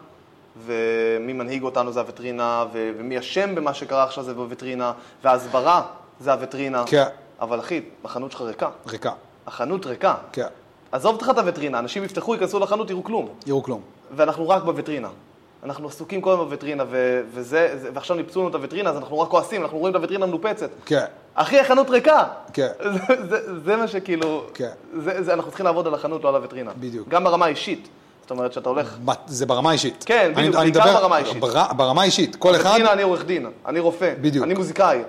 ומי מנהיג אותנו זה הווטרינה, ו- ומי אשם במה שקרה עכשיו זה בווטרינה, וההסברה זה הווטרינה.
כן.
אבל אחי, החנות שלך ריקה.
ריקה.
החנות ריקה.
כן.
עזוב אותך את הווטרינה, אנשים יפתחו, ייכנסו לחנות, יראו כלום.
יראו כלום.
ואנחנו רק בווטרינה. אנחנו עסוקים כל הזמן בווטרינה, ו- וזה, זה- ועכשיו ניפצו לנו את הווטרינה, אז אנחנו רק כועסים, אנחנו רואים את הווטרינה מנופצת.
כן.
אחי, החנות ריקה!
כן.
זה, זה, זה מה שכאילו...
כן.
זה, זה, אנחנו צריכים לעבוד על החנות, לא על הווטרינה.
בדיוק.
גם ברמה האישית. זאת אומרת, שאתה הולך...
בת- זה ברמה האישית.
כן,
אני-
בדיוק,
אני
בעיקר
מדבר-
ברמה האישית.
בר- ברמה האישית, כל אחד,
הנה, אני עורך דין, אני רופא,
בדיוק.
אני מוזיקאי,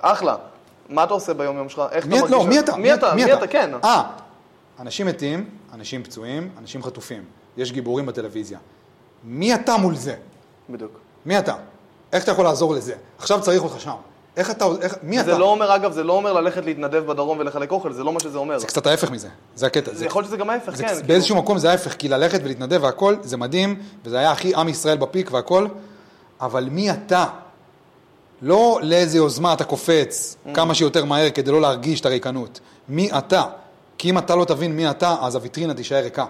אחלה. מה אתה עושה ביום-יום שלך? איך
מי
אתה
אתה?
מרגיש?
לא, מי אתה?
מי אתה? מי אתה? כן.
אה, אנשים מתים, אנשים פצועים, אנשים חטופים. יש גיבורים בטלוויזיה. מי אתה מול זה?
בדיוק.
מי אתה? איך אתה יכול לעזור לזה? עכשיו צריך אותך שם. איך אתה, איך, מי
זה
אתה?
לא אומר, אגב, זה לא אומר ללכת להתנדב בדרום ולחלק אוכל, זה לא מה שזה אומר.
זה קצת ההפך מזה, זה הקטע.
זה יכול להיות שזה גם ההפך,
זה,
כן.
כן,
כאילו.
באיזשהו מקום זה ההפך, כי ללכת ולהתנדב והכל, זה מדהים, וזה היה הכי עם ישראל בפיק והכל, אבל מי אתה? לא לאיזה יוזמה אתה קופץ כמה שיותר מהר כדי לא להרגיש את הריקנות. מי אתה? כי אם אתה לא תבין מי אתה, אז הוויטרינה תישאר ריקה.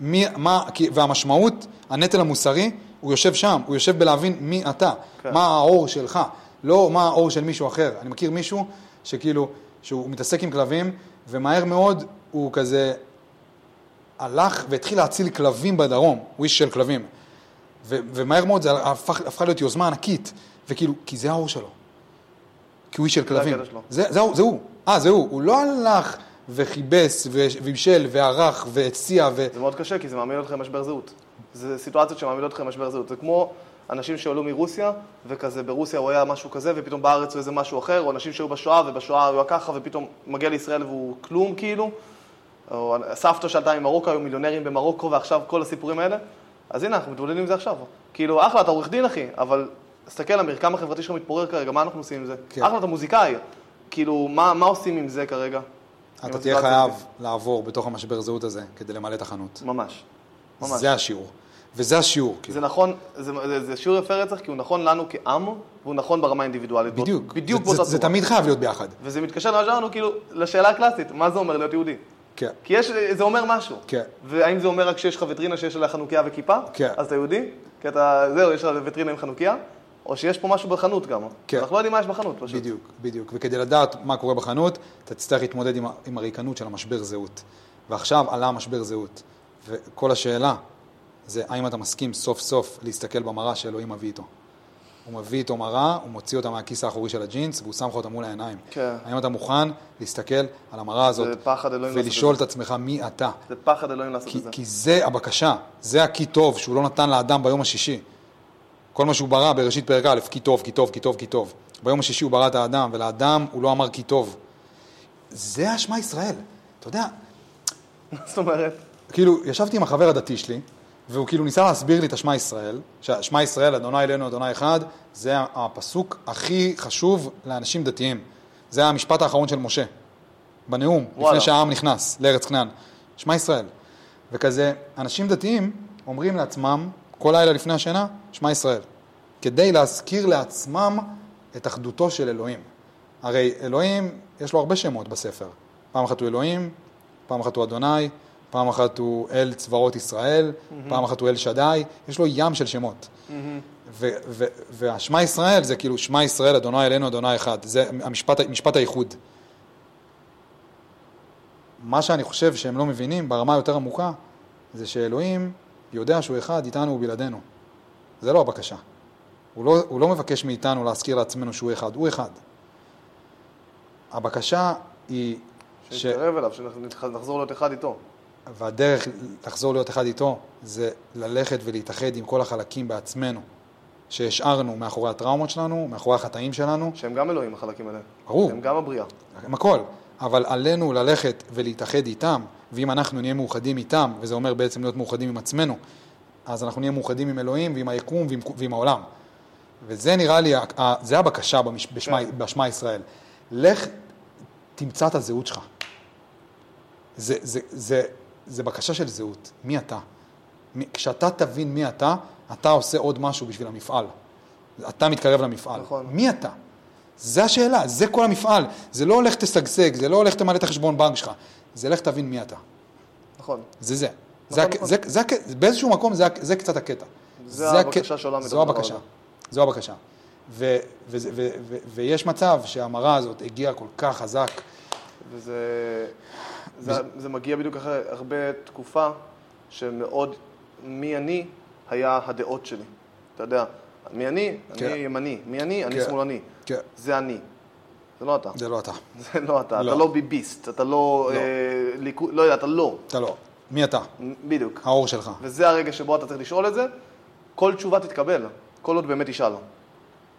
מי, מה, כי, והמשמעות, הנטל המוסרי, הוא יושב שם, הוא יושב בלהבין מי אתה,
כן.
כן. מה האור שלך, לא מה האור של מישהו אחר. אני מכיר מישהו שכאילו, שהוא מתעסק עם כלבים, ומהר מאוד הוא כזה הלך והתחיל להציל כלבים בדרום, הוא איש של כלבים. ו- ומהר מאוד זה הפך, הפכה להיות יוזמה ענקית, וכאילו, כי זה האור שלו. כי הוא איש של כלבים.
הקטע שלו.
זה, זה, הוא- זה הוא, אה, זה הוא. הוא לא הלך וכיבס ו- ובישל וערך והציע ו...
זה מאוד קשה, כי זה מעמיד אותך במשבר זהות. זה סיטואציות שמעמידות אותך במשבר זהות. זה כמו אנשים שעלו מרוסיה, וכזה ברוסיה הוא היה משהו כזה, ופתאום בארץ הוא איזה משהו אחר, או אנשים שהיו בשואה, ובשואה הוא היה ככה, ופתאום מגיע לישראל והוא כלום כאילו. או סבתא שעלתה ממרוקו, היו מיליונרים במרוקו, ועכשיו כל הסיפורים האלה. אז הנה, אנחנו מתמודדים עם זה עכשיו. כאילו, אחלה, אתה עורך דין, אחי, אבל תסתכל, המרקם החברתי שלך מתפורר כרגע, מה אנחנו עושים עם זה?
כן.
אחלה, אתה מוזיקאי. כאילו, מה, מה עושים עם זה כרגע? עם
אתה תהיה
הסיטואציה
חייב
הזאת?
לעבור בתוך המשבר זהות הזה כדי למלא את החנות.
ממש. ממש.
זה השיעור. וזה השיעור,
זה
כאילו.
נכון, זה, זה, זה שיעור יפה רצח, כי הוא נכון לנו כעם, והוא נכון ברמה האינדיבידואלית. באות-
בדיוק.
בדיוק
זה-
באותה
זה- זה
צורה.
תמיד חייב להיות ביחד.
וזה מתקשר למה שאמרנו, כאילו, לשאלה הקלאסית, מה זה אומר להיות יהודי?
כן.
כי יש, זה אומר משהו.
כן.
והאם זה אומר רק שיש לך וטרינה שיש עליה חנוכיה וכיפה?
כן.
אז אתה יהודי? כי אתה, זהו, יש לך וטרינה עם חנוכיה? או שיש פה משהו בחנות גם.
כן.
אנחנו לא יודעים מה יש בחנות פשוט.
בדיוק, בדיוק. וכדי לדעת מה קורה בחנות, אתה תצטרך להתמודד עם, ה- עם הריקנות של המשבר זהות. ועכשיו עלה המשבר זהות. וכל השאלה זה האם אתה מסכים סוף סוף להסתכל במראה שאלוהים מביא איתו. הוא מביא איתו מראה, הוא מוציא אותה מהכיס האחורי של הג'ינס, והוא שם לך אותה מול העיניים.
כן.
האם אתה מוכן להסתכל על המראה הזאת,
זה פחד אלוהים לעשות את
ולשאול את עצמך מי אתה?
זה פחד אלוהים לעשות
כי,
את זה.
כי זה הבקשה, זה הכי טוב שהוא לא נתן לאדם ביום השישי. כל מה שהוא ברא בראשית פרק א', כי טוב, כי טוב, כי טוב, כי טוב. ביום השישי הוא ברא את האדם, ולאדם הוא לא אמר כי טוב. זה השמע ישראל. אתה יודע,
מה זאת אומרת?
כאילו, ישבתי עם החבר הדתי שלי, והוא כאילו ניסה להסביר לי את השמע ישראל, שהשמע ישראל, אדוני אלינו, אדוני אחד, זה הפסוק הכי חשוב לאנשים דתיים. זה המשפט האחרון של משה, בנאום, וואלה.
וואלה.
לפני שהעם נכנס לארץ כנען. שמע ישראל. וכזה, אנשים דתיים אומרים לעצמם, כל לילה לפני השינה, שמע ישראל. כדי להזכיר לעצמם את אחדותו של אלוהים. הרי אלוהים, יש לו הרבה שמות בספר. פעם אחת הוא אלוהים, פעם אחת הוא אדוני, פעם אחת הוא אל צבאות ישראל, פעם אחת הוא אל שדי, יש לו ים של שמות. ו- ו- והשמע ישראל זה כאילו, שמע ישראל, אדוני אלינו, אדוני אחד. זה המשפט, משפט האיחוד. מה שאני חושב שהם לא מבינים ברמה היותר עמוקה, זה שאלוהים יודע שהוא אחד איתנו ובלעדינו. זה לא הבקשה. הוא לא, הוא לא מבקש מאיתנו להזכיר לעצמנו שהוא אחד, הוא אחד. הבקשה היא, ש...
שנתקרב אליו, שנחזור להיות אחד איתו.
והדרך לחזור להיות אחד איתו, זה ללכת ולהתאחד עם כל החלקים בעצמנו, שהשארנו מאחורי הטראומות שלנו, מאחורי החטאים שלנו,
שהם גם אלוהים, החלקים האלה.
ברור.
הם גם הבריאה.
הם הכל, אבל עלינו ללכת ולהתאחד איתם, ואם אנחנו נהיה מאוחדים איתם, וזה אומר בעצם להיות מאוחדים עם עצמנו, אז אנחנו נהיה מאוחדים עם אלוהים ועם היקום ועם, ועם העולם. וזה נראה לי, ה- ה- זה הבקשה במש, בשמע,
כן.
בשמע ישראל. לך תמצא את הזהות שלך. זה, זה, זה, זה בקשה של זהות, מי אתה? מי, כשאתה תבין מי אתה, אתה עושה עוד משהו בשביל המפעל. אתה מתקרב למפעל.
נכון.
מי אתה? זה השאלה, זה כל המפעל. זה לא הולך תשגשג, זה לא הולך תמלא את החשבון בנק שלך. זה לך תבין מי אתה.
נכון.
זה זה.
נכון,
זה, הק-
נכון.
זה, זה, זה באיזשהו מקום זה, הק- זה קצת הקטע.
זה
הק-
הבקשה שעולה מתוך
זו
הדבר
הבקשה.
הזה.
זו הבקשה. ו, וזה- ו, ו, ויש מצב שהמראה הזאת הגיעה כל כך חזק.
וזה זה, זה מגיע בדיוק אחרי הרבה תקופה שמאוד מי אני היה הדעות שלי. אתה יודע, מי אני?
כן.
אני ימני. מי אני? אני
כן.
שמאלני.
כן,
זה אני. זה לא אתה.
זה לא אתה.
זה לא אתה.
לא.
אתה לא ביביסט, אתה לא...
לא.
אה, ליכוד- לא יודע, אתה לא.
אתה לא. מי אתה?
בדיוק.
האור שלך.
וזה הרגע שבו אתה צריך לשאול את זה. כל תשובה תתקבל, כל עוד באמת תשאל.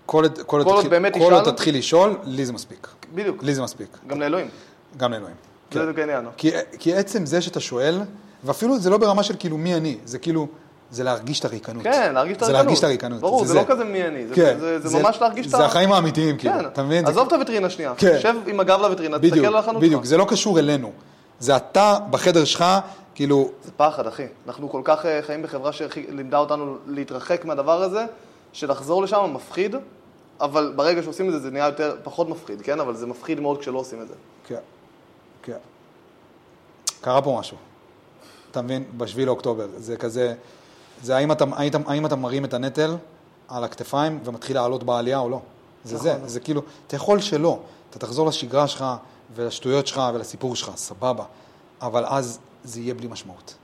כל עוד- כל עוד
כל עוד
תתחיל-
באמת
כל עוד
תשאל-
תתחיל לשאול, לי זה מספיק.
בדיוק.
לי זה מספיק.
גם לאלוהים.
גם לאלוהים.
זה
כן.
בדיוק העניין.
כי, כי עצם זה שאתה שואל, ואפילו זה לא ברמה של כאילו מי אני, זה כאילו, זה להרגיש את הריקנות.
כן, להרגיש את
זה
הריקנות.
להרגיש את הריקנות.
ברור, זה לא כזה מי אני. זה-
כן.
זה זה ממש להרגיש את
זה החיים האמיתיים, כאילו,
כן,
אתה מבין? זה-
עזוב את הווטרינה שנייה,
כן.
שב עם הגב לווטרינה,
בדיוק,
תסתכל על החנות
בדיוק,
שלך.
זה לא קשור אלינו. זה אתה בחדר שלך, כאילו,
זה פחד, אחי. אנחנו כל כך אה, חיים בחברה שלימדה אותנו להתרחק מהדבר הזה, שלחזור לשם מפחיד, אבל ברגע שעושים את זה, זה נהיה יותר, פחות מפחיד, כן? אבל זה מפחיד מאוד כשלא עושים את זה.
כן, כן. קרה פה משהו. אתה מבין? בשביעי לאוקטובר. זה כזה, זה האם אתה, האם, אתה- האם אתה מרים את הנטל על הכתפיים ומתחיל לעלות בעלייה או לא. זה זה, זה כאילו, אתה יכול שלא. אתה תחזור לשגרה שלך ולשטויות שלך ולסיפור שלך, סבבה. אבל אז זה יהיה בלי משמעות.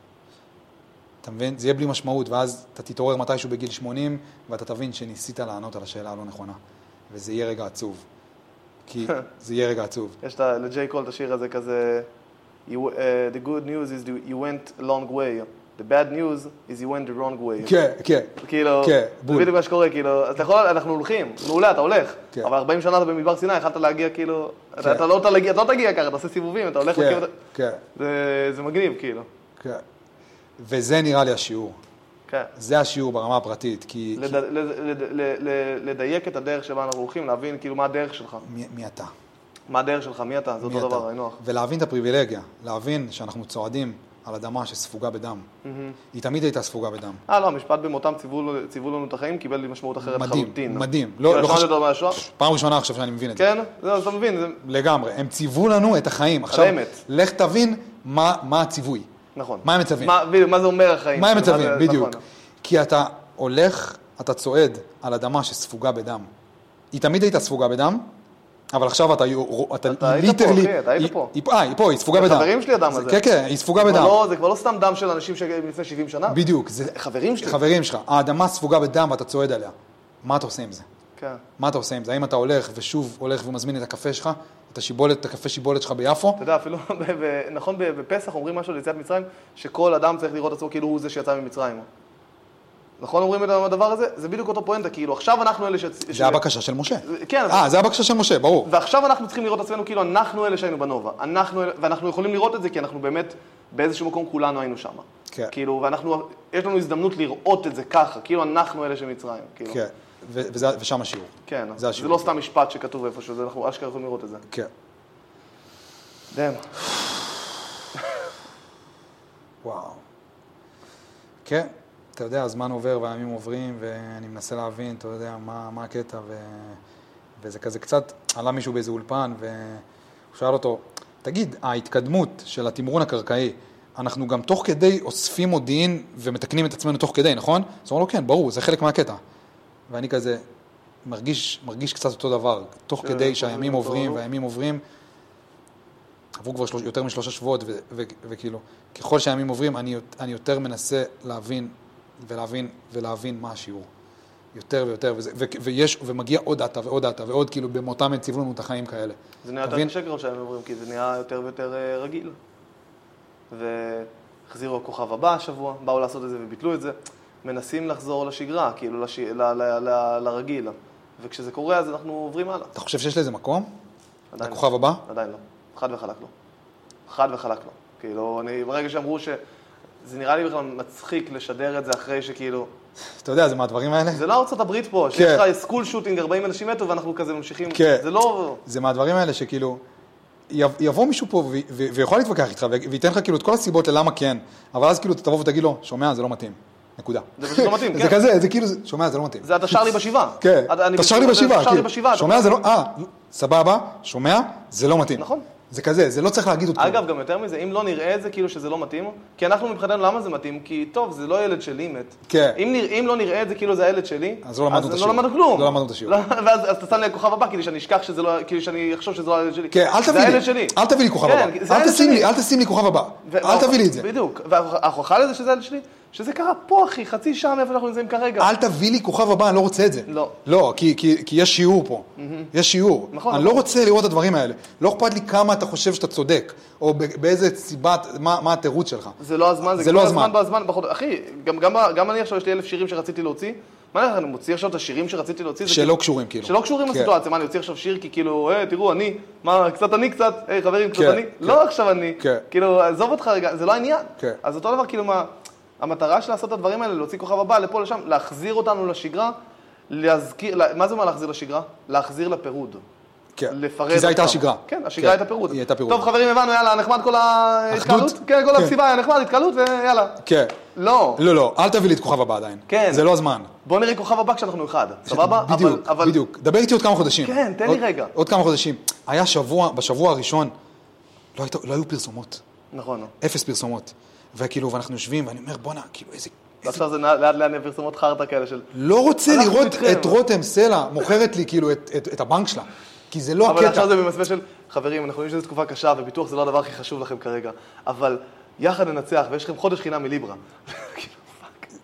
אתה מבין? זה יהיה בלי משמעות, ואז אתה תתעורר מתישהו בגיל 80, ואתה תבין שניסית לענות על השאלה הלא נכונה. וזה יהיה רגע עצוב. כי זה יהיה רגע עצוב.
יש את ה- לג'יי קול את השיר הזה כזה, you, uh, the good news is you went long way, the bad news is you went the wrong way.
כן, כן.
כאילו,
כן,
זה
בול.
בדיוק מה שקורה, כאילו, אז אתה יכול, אנחנו הולכים, מעולה, אתה הולך,
כן.
אבל 40 שנה אתה במדבר סיני, יכולת להגיע, כאילו,
כן.
אתה אתה לא תגיע- אתה לא תגיע ככה, אתה עושה סיבובים, אתה הולך
כן,
לכיוון...
כן,
זה, זה מגניב, כאילו.
כן. וזה נראה לי השיעור.
כן.
זה השיעור ברמה הפרטית, כי...
לד,
כי-
לד, לד, ל- ל- לדייק את הדרך שבה אנחנו הולכים, להבין כאילו מה הדרך שלך.
מי, מי אתה?
מה הדרך שלך, מי אתה, זה
מי אתה?
אותו דבר, לא היינו אח.
ולהבין את הפריבילגיה, להבין שאנחנו צועדים על אדמה שספוגה בדם. היא תמיד הייתה ספוגה בדם.
אה, לא, המשפט במותם ציוו, לו- ציוו לנו את החיים קיבל לי משמעות אחרת
מדהים,
לחלוטין.
מדהים. לא-
לא,
לא
לא
חשב-
חשבתי אותו מהשואה?
פעם ראשונה עכשיו שאני מבין את זה.
כן? זהו, אז אתה מבין, זה...
לגמרי. הם ציוו לנו את החיים. עכשיו,
האמת.
לך תבין מה, מה הציווי.
נכון.
מה הם מצווים?
מה, בדיוק, מה זה אומר החיים?
מה הם
כאילו,
מצווים,
זה-
בדיוק.
נכון.
כי אתה הולך, אתה צועד על אדמה שספוגה בדם. היא תמיד הייתה ספוגה בדם, אבל עכשיו אתה, יו- אתה,
אתה היית
literally-
פה, אחי, אתה היית
היא-
פה.
היא- אה, היא פה, היא ספוגה
זה
בדם.
חברים שלי, הדם
זה-
הזה.
כן, כן, היא ספוגה
כבר
בדם.
לא- זה כבר לא סתם דם של אנשים שלפני 70 שנה.
בדיוק. זה
חברים שלי.
חברים שלך. האדמה ספוגה בדם ואתה צועד עליה. מה אתה עושה עם זה?
כן.
מה אתה עושה עם זה? האם אתה הולך ושוב הולך ומזמין את הקפה שלך, את השיבולת, את הקפה שיבולת שלך ביפו?
אתה יודע, אפילו, ב- ב- נכון, ב- בפסח אומרים משהו על יציאת מצרים, שכל אדם צריך לראות עצמו כאילו הוא זה שיצא ממצרים. נכון אומרים את הדבר הזה? זה בדיוק אותו פואנטה, כאילו עכשיו אנחנו אלה ש...
זה הבקשה של משה.
כן, אז-
אה, זה הבקשה של משה, ברור.
ועכשיו אנחנו צריכים לראות את עצמנו כאילו אנחנו אלה שהיינו בנובה. אנחנו, אלה- ואנחנו יכולים לראות את זה כי אנחנו באמת, באיזשהו מקום כולנו היינו שם.
כן.
כאילו, ואנחנו, יש לנו הזדמנות לראות את זה ככה, כאילו אנחנו אלה של מצרים. כאילו.
כן, ו- וזה- ושם השיעור.
כן,
זה
זה, זה
השיעור.
לא סתם משפט שכתוב איפשהו, זה אנחנו אשכרה יכולים לראות את זה.
כן.
דאם.
וואו. כן, אתה יודע, הזמן עובר והימים עוברים, ואני מנסה להבין, אתה יודע, מה, מה הקטע, ו... וזה כזה קצת, עלה מישהו באיזה אולפן, והוא שאל אותו, תגיד, ההתקדמות של התמרון הקרקעי, אנחנו גם תוך כדי אוספים מודיעין ומתקנים את עצמנו תוך כדי, נכון? אז הוא אמר לו, כן, ברור, זה חלק מהקטע. ואני כזה מרגיש, מרגיש קצת אותו דבר, תוך
כן,
כדי
אנחנו
שהימים
אותו
עוברים
דבר.
והימים עוברים. עברו כבר שלוש, יותר משלושה שבועות, ו, ו, וכאילו, ככל שהימים עוברים, אני, יות- אני יותר מנסה להבין ולהבין ולהבין מה השיעור. יותר ויותר, וזה, ו, ויש, ומגיע עוד דאטה ועוד דאטה ועוד, כאילו, במותם הציבו לנו את החיים כאלה.
זה נהיה
אתה
יותר
מבין?
קשה כבר שהם אומרים, כי זה נהיה יותר ויותר אה, רגיל. והחזירו הכוכב הבא השבוע, באו לעשות את זה וביטלו את זה. מנסים לחזור לשגרה, כאילו, לש... ל... ל... ל... לרגיל. וכשזה קורה, אז אנחנו עוברים הלאה.
אתה חושב שיש לזה מקום?
עדיין לא.
לכוכב הבא?
עדיין לא. חד וחלק לא. חד וחלק לא. כאילו, אני, ברגע שאמרו ש... זה נראה לי בכלל מצחיק לשדר את זה אחרי שכאילו...
אתה יודע, זה מהדברים האלה?
זה לא ארצות הברית פה, שיש
כן.
לך סקול שוטינג, 40 אנשים מתו ואנחנו כזה ממשיכים.
כן.
זה לא...
זה מהדברים האלה שכאילו, יב- יבוא מישהו פה ו- ו- ויכול להתווכח איתך ו- וייתן לך כאילו את כל הסיבות ללמה כן, אבל אז כאילו אתה תבוא ותגיד לו, שומע, זה לא מתאים, נקודה.
זה פשוט לא מתאים,
זה
כן.
כזה, זה כאילו, שומע, זה לא מתאים.
זה אתה שר לי בשבעה.
כן,
אתה- אני-
אתה שר לי בשבעה,
אתה שר לי
כאילו,
בשבעה. אתה-
שומע, זה לא, אה, סבבה, שומע, זה לא מתאים.
נכון.
זה כזה, זה לא צריך להגיד אותו.
אגב, גם יותר מזה, אם לא נראה את זה, כאילו שזה לא מתאים, כי אנחנו מבחינתנו, למה זה מתאים? כי טוב, זה לא ילד שלי מת.
כן.
אם, נרא, אם לא נראה את זה, כאילו זה הילד שלי,
אז לא למדנו את השיעור.
לא למדנו כלום.
לא למדנו את השיעור.
לא, ואז אז אתה שם לי הכוכב הבא, כדי שאני אשכח שזה לא, כאילו שאני אחשוב שזה לא הילד שלי.
כן, אל
זה
תביא לי,
הילד שלי.
אל תביא לי כוכב
כן,
הבא,
זה
אל
הילד
תשים
שלי.
לי, אל תשים לי כוכב הבא, אל תביא לי את זה,
בדיוק. וההוכחה לזה שזה הילד שלי, שזה קרה פה, אחי, חצי שעה מאיפה שאנחנו נמצאים כרגע.
אל תביא לי כוכב הבא, אני לא רוצה את זה.
לא.
לא, כי, כי, כי יש שיעור פה. יש שיעור.
נכון,
אני לא
נכון.
רוצה לראות את הדברים האלה. לא אכפת לי כמה אתה חושב שאתה צודק, או ב- באיזה סיבה, מה, מה התירוץ שלך.
זה לא הזמן, זה,
זה
גם
לא
הזמן.
הזמן.
בזמן, בחוד... אחי, גם, גם, גם אני עכשיו יש לי אלף שירים שרציתי להוציא. מה אני אומר, אני מוציא עכשיו את השירים שרציתי להוציא? זה
שלא
כאילו-
קשורים, כאילו.
שלא קשורים
כן.
לסיטואציה, מה, אני אוציא עכשיו שיר כי כאילו, אה, תראו, אני, מה, קצת אני קצת, היי, חברים, קצת
כן,
אני?
כן.
לא עכשיו אני.
כן.
כאילו, עזוב אותך רגע, זה לא העניין.
כן.
אז אותו דבר, כאילו, מה, המטרה של לעשות את הדברים האלה, להוציא כוכב הבא, לפה, לשם, להחזיר אותנו לשגרה, להזכיר, לה- מה זה אומר להחזיר לשגרה? להחזיר לפירוד.
כן.
לפרט.
כי זו הייתה
אותם.
השגרה.
כן, השגרה הייתה פירוד.
היא הייתה פירוד.
טוב, חברים, הבנו, יאללה, נחמד כל ההתקהלות? כן, כל
כן.
המסיבה היה נחמד, התקהלות, ויאללה.
כן.
לא.
לא, לא, אל תביא לי את כוכב הבא עדיין.
כן.
זה לא הזמן.
בוא נראה כוכב הבא כשאנחנו אחד, סבבה? אבל-
בדיוק,
אבל-
בדיוק. דבר איתי עוד כמה חודשים.
כן, תן לי
עוד-
רגע.
עוד כמה חודשים. היה שבוע, בשבוע הראשון, לא היית- לא היו פרסומות.
נכון.
אפס פרסומות. וכאילו, ואנחנו יושבים, ואני אומר, בואנה, כאילו, איזה...
עכשיו זה לאט לאט נהיה פרסומות חרטא כאלה של...
לא רוצה
אנחנו
לראות
איתכם.
את רותם סלע מוכרת לי כאילו את, את, את הבנק שלה, כי זה לא
אבל
הקטע.
עכשיו זה במסווה של, חברים, אנחנו יודעים שזו תקופה קשה, וביטוח זה לא הדבר הכי חשוב לכם כרגע, אבל יחד ננצח, ויש לכם חודש חינם מליברה. כאילו,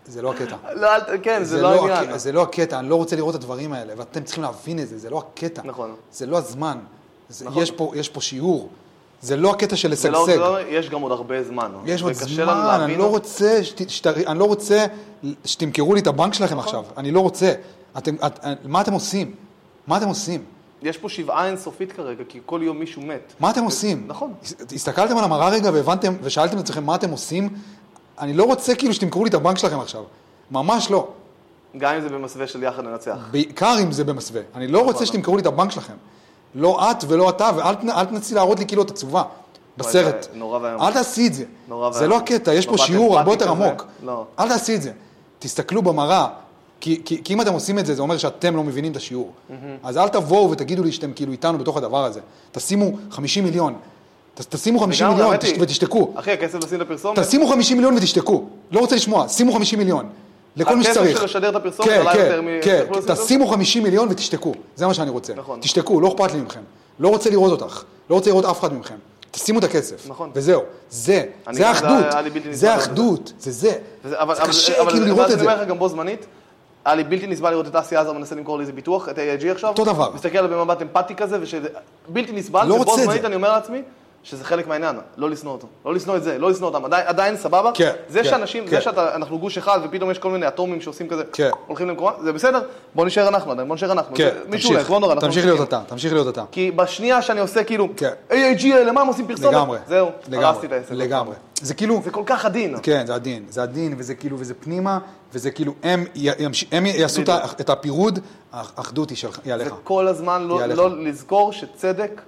זה לא הקטע.
לא, אל ת- כן, זה לא
לא
העניין.
הק- זה לא הקטע, אני לא רוצה לראות את הדברים האלה, ואתם צריכים להבין את זה, זה לא הקטע.
נכון.
זה לא הזמן. זה,
נכון.
יש, פה, יש פה שיעור. זה לא הקטע של
זה לא-
לשגשג.
זה לא- יש גם עוד הרבה זמן.
יש עוד
וקשה לנו
זמן, אני
להבין
לא
אותו.
רוצה, שת, שת, אני לא רוצה שתמכרו לי את הבנק
נכון.
שלכם עכשיו. אני לא רוצה. אתם, את, מה אתם עושים? מה אתם עושים?
יש פה שבעה אינסופית כרגע, כי כל יום מישהו מת.
מה אתם עושים?
נכון.
הס- הסתכלתם על המראה רגע והבנתם, ושאלתם את עצמכם מה אתם עושים? אני לא רוצה כאילו שתמכרו לי את הבנק שלכם עכשיו. ממש לא.
גם אם זה במסווה של יחד ננצח.
בעיקר אם זה במסווה. אני לא
נכון.
רוצה שתמכרו לי את הבנק שלכם. לא את ולא אתה, ואל תנ- אל תנסי להראות לי כאילו את עצובה. בסרט.
זה נורא ואיום.
אל תעשי את זה.
נורא
זה
ואיום.
לא הקטע, יש פה
מבט
שיעור הרבה
אמפתי
יותר
כזה.
עמוק.
לא.
אל תעשי את זה. תסתכלו במראה, כי, כי, כי אם אתם עושים את זה, זה אומר שאתם לא מבינים את השיעור. אז אל תבואו ותגידו לי שאתם כאילו איתנו בתוך הדבר הזה. תשימו 50 מיליון. ת, תשימו 50
לגמרי,
מיליון
האמת היא-
תש, ותשתקו.
אחי, הכסף לשים לפרסומת,
תשימו 50 מיליון ותשתקו. לא רוצה לשמוע, שימו 50 מיליון. לכל מי
הכסף
שצריך.
של לשדר את הפרסומת עלה יותר מ-
כן,
יכלו
כן,
לעשות את זה?
תשימו 50 מיליון ותשתקו. זה מה שאני רוצה.
נכון.
תשתקו, לא אכפת לי מכם. לא רוצה לראות אותך. לא רוצה לראות אף אחד מכם. תשימו את הכסף.
נכון.
וזהו. זה.
אני-
זה האחדות.
היה לי בלתי נסבל
זה
לראות את זה.
האחדות. זה זה.
וזה- אבל-
זה
אבל-
קשה
אבל-
כאילו לראות
ואז
את זה.
אני אומר לך גם בו זמנית, היה לי בלתי נסבל לראות את אסי עזר מנסה למכור לי איזה ביטוח, את AIG עכשיו.
אותו דבר.
מסתכל עליו במבט אמפתי כזה, ושזה בלתי נסבל,
לא
ובו
רוצה את
זמנית
זה.
אני אומר לעצמי, שזה חלק מהעניין, לא לשנוא אותו. לא לשנוא את זה, לא לשנוא אותם, עדיין, עדיין סבבה?
כן,
זה
כן,
שאנשים,
כן.
זה שאנחנו גוש אחד ופתאום יש כל מיני אטומים שעושים כזה,
כן.
הולכים למקומם, זה בסדר, בוא נשאר אנחנו עדיין, בוא נשאר אנחנו.
כן,
זה- מישהו
תמשיך,
הולך, לא נורא, אנחנו
תמשיך להיות
ממשיכים.
אתה, תמשיך להיות אתה.
כי בשנייה שאני עושה כאילו,
כן.
AIG האלה, מה הם עושים פרסומת?
לגמרי.
זהו,
לגמרי,
הרסתי את העסק.
לגמרי. זה כאילו,
זה כל כך עדין.
כן, זה עדין, זה עדין, וזה כאילו, וזה פנימה, וזה כאילו, הם, י- ימש- הם יעשו את ה- את הפירוד, האח- האחדות היא שלך, היא
זה
עליך.
כל הזמן לא,
יהיה עליך.
לא לזכור שצדק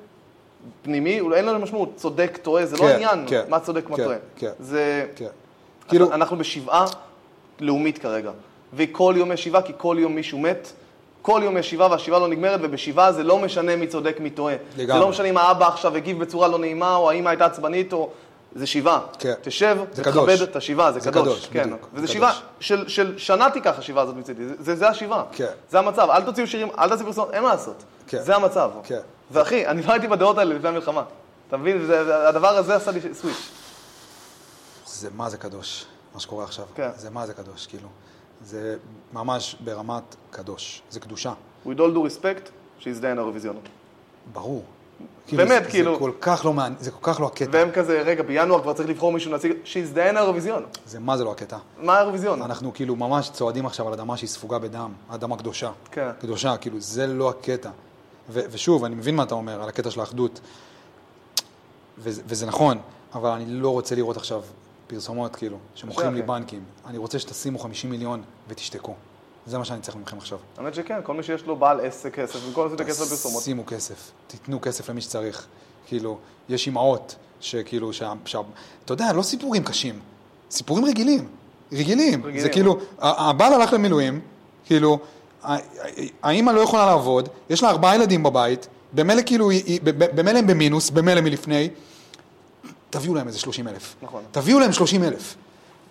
פנימי, אולי אין לנו משמעות, צודק, טועה, זה
כן,
לא עניין
כן,
מה צודק, מה
כן,
טועה.
כן.
זה...
כן.
כאילו...
כאילו,
אנחנו בשבעה לאומית כרגע, וכל יום יש שבעה, כי כל יום מישהו מת. כל יום יש שבעה והשבעה לא נגמרת, ובשבעה זה לא משנה מי צודק, מי טועה. זה
לגמרי.
לא משנה אם האבא עכשיו הגיב בצורה לא נעימה, או האמא הייתה עצבנית, או... זה שבעה.
כן.
תשב,
זה
תכבד
קדוש.
את השבעה, זה
זה
קדוש.
קדוש,
כן.
בדיוק,
וזה
זה
שבעה
קדוש.
של, של שנה תיקח השבעה הזאת מצידי, זה- זה, זה השבעה.
כן.
זה המצב, אל תוציאו שירים, אל תעשו פרסומת, אין מה לעשות.
כן.
זה המצב.
כן.
ואחי, אני לא הייתי בדעות האלה לפני המלחמה. אתה מבין? וזה- הדבר הזה עשה לי סוויץ'.
זה מה זה קדוש, מה שקורה עכשיו.
כן.
זה מה זה קדוש, כאילו. זה ממש ברמת קדוש, זה קדושה,
With all due respect, שיזדיין האירוויזיון.
ברור.
באמת,
זה-
כאילו.
זה כל כך לא מעניין, זה כל כך לא הקטע.
והם כזה, רגע, בינואר כבר צריך לבחור מישהו נציג, שיזדיין האירוויזיון.
זה מה זה לא הקטע.
מה האירוויזיון?
אנחנו כאילו ממש צועדים עכשיו על אדמה שהיא ספוגה בדם, אדמה קדושה.
כן.
קדושה, כאילו, זה לא הקטע. ו- ושוב, אני מבין מה אתה אומר על הקטע של האחדות, וזה, וזה נכון, אבל אני לא רוצה לראות עכשיו פרסומות, כאילו, שמוכרים לי
אחי.
בנקים. אני רוצה שתשימו 50 מיליון ותשתקו. זה מה שאני צריך מכם עכשיו.
האמת שכן, כל מי שיש לו בעל עסק כסף, במקום לעשות את הכסף בפרסומות.
שימו כסף, תיתנו כסף למי שצריך. כאילו, יש אימהות שכאילו, שה, שה, אתה יודע, לא סיפורים קשים, סיפורים רגילים. רגילים.
רגילים.
זה כאילו, ה- הבעל הלך למילואים, כאילו, ה- ה- האימא לא יכולה לעבוד, יש לה ארבעה ילדים בבית, במילא כאילו, היא- היא- ב- ב- במילא הם במינוס, במילא מלפני, תביאו להם איזה 30 אלף.
נכון.
תביאו להם 30 אלף.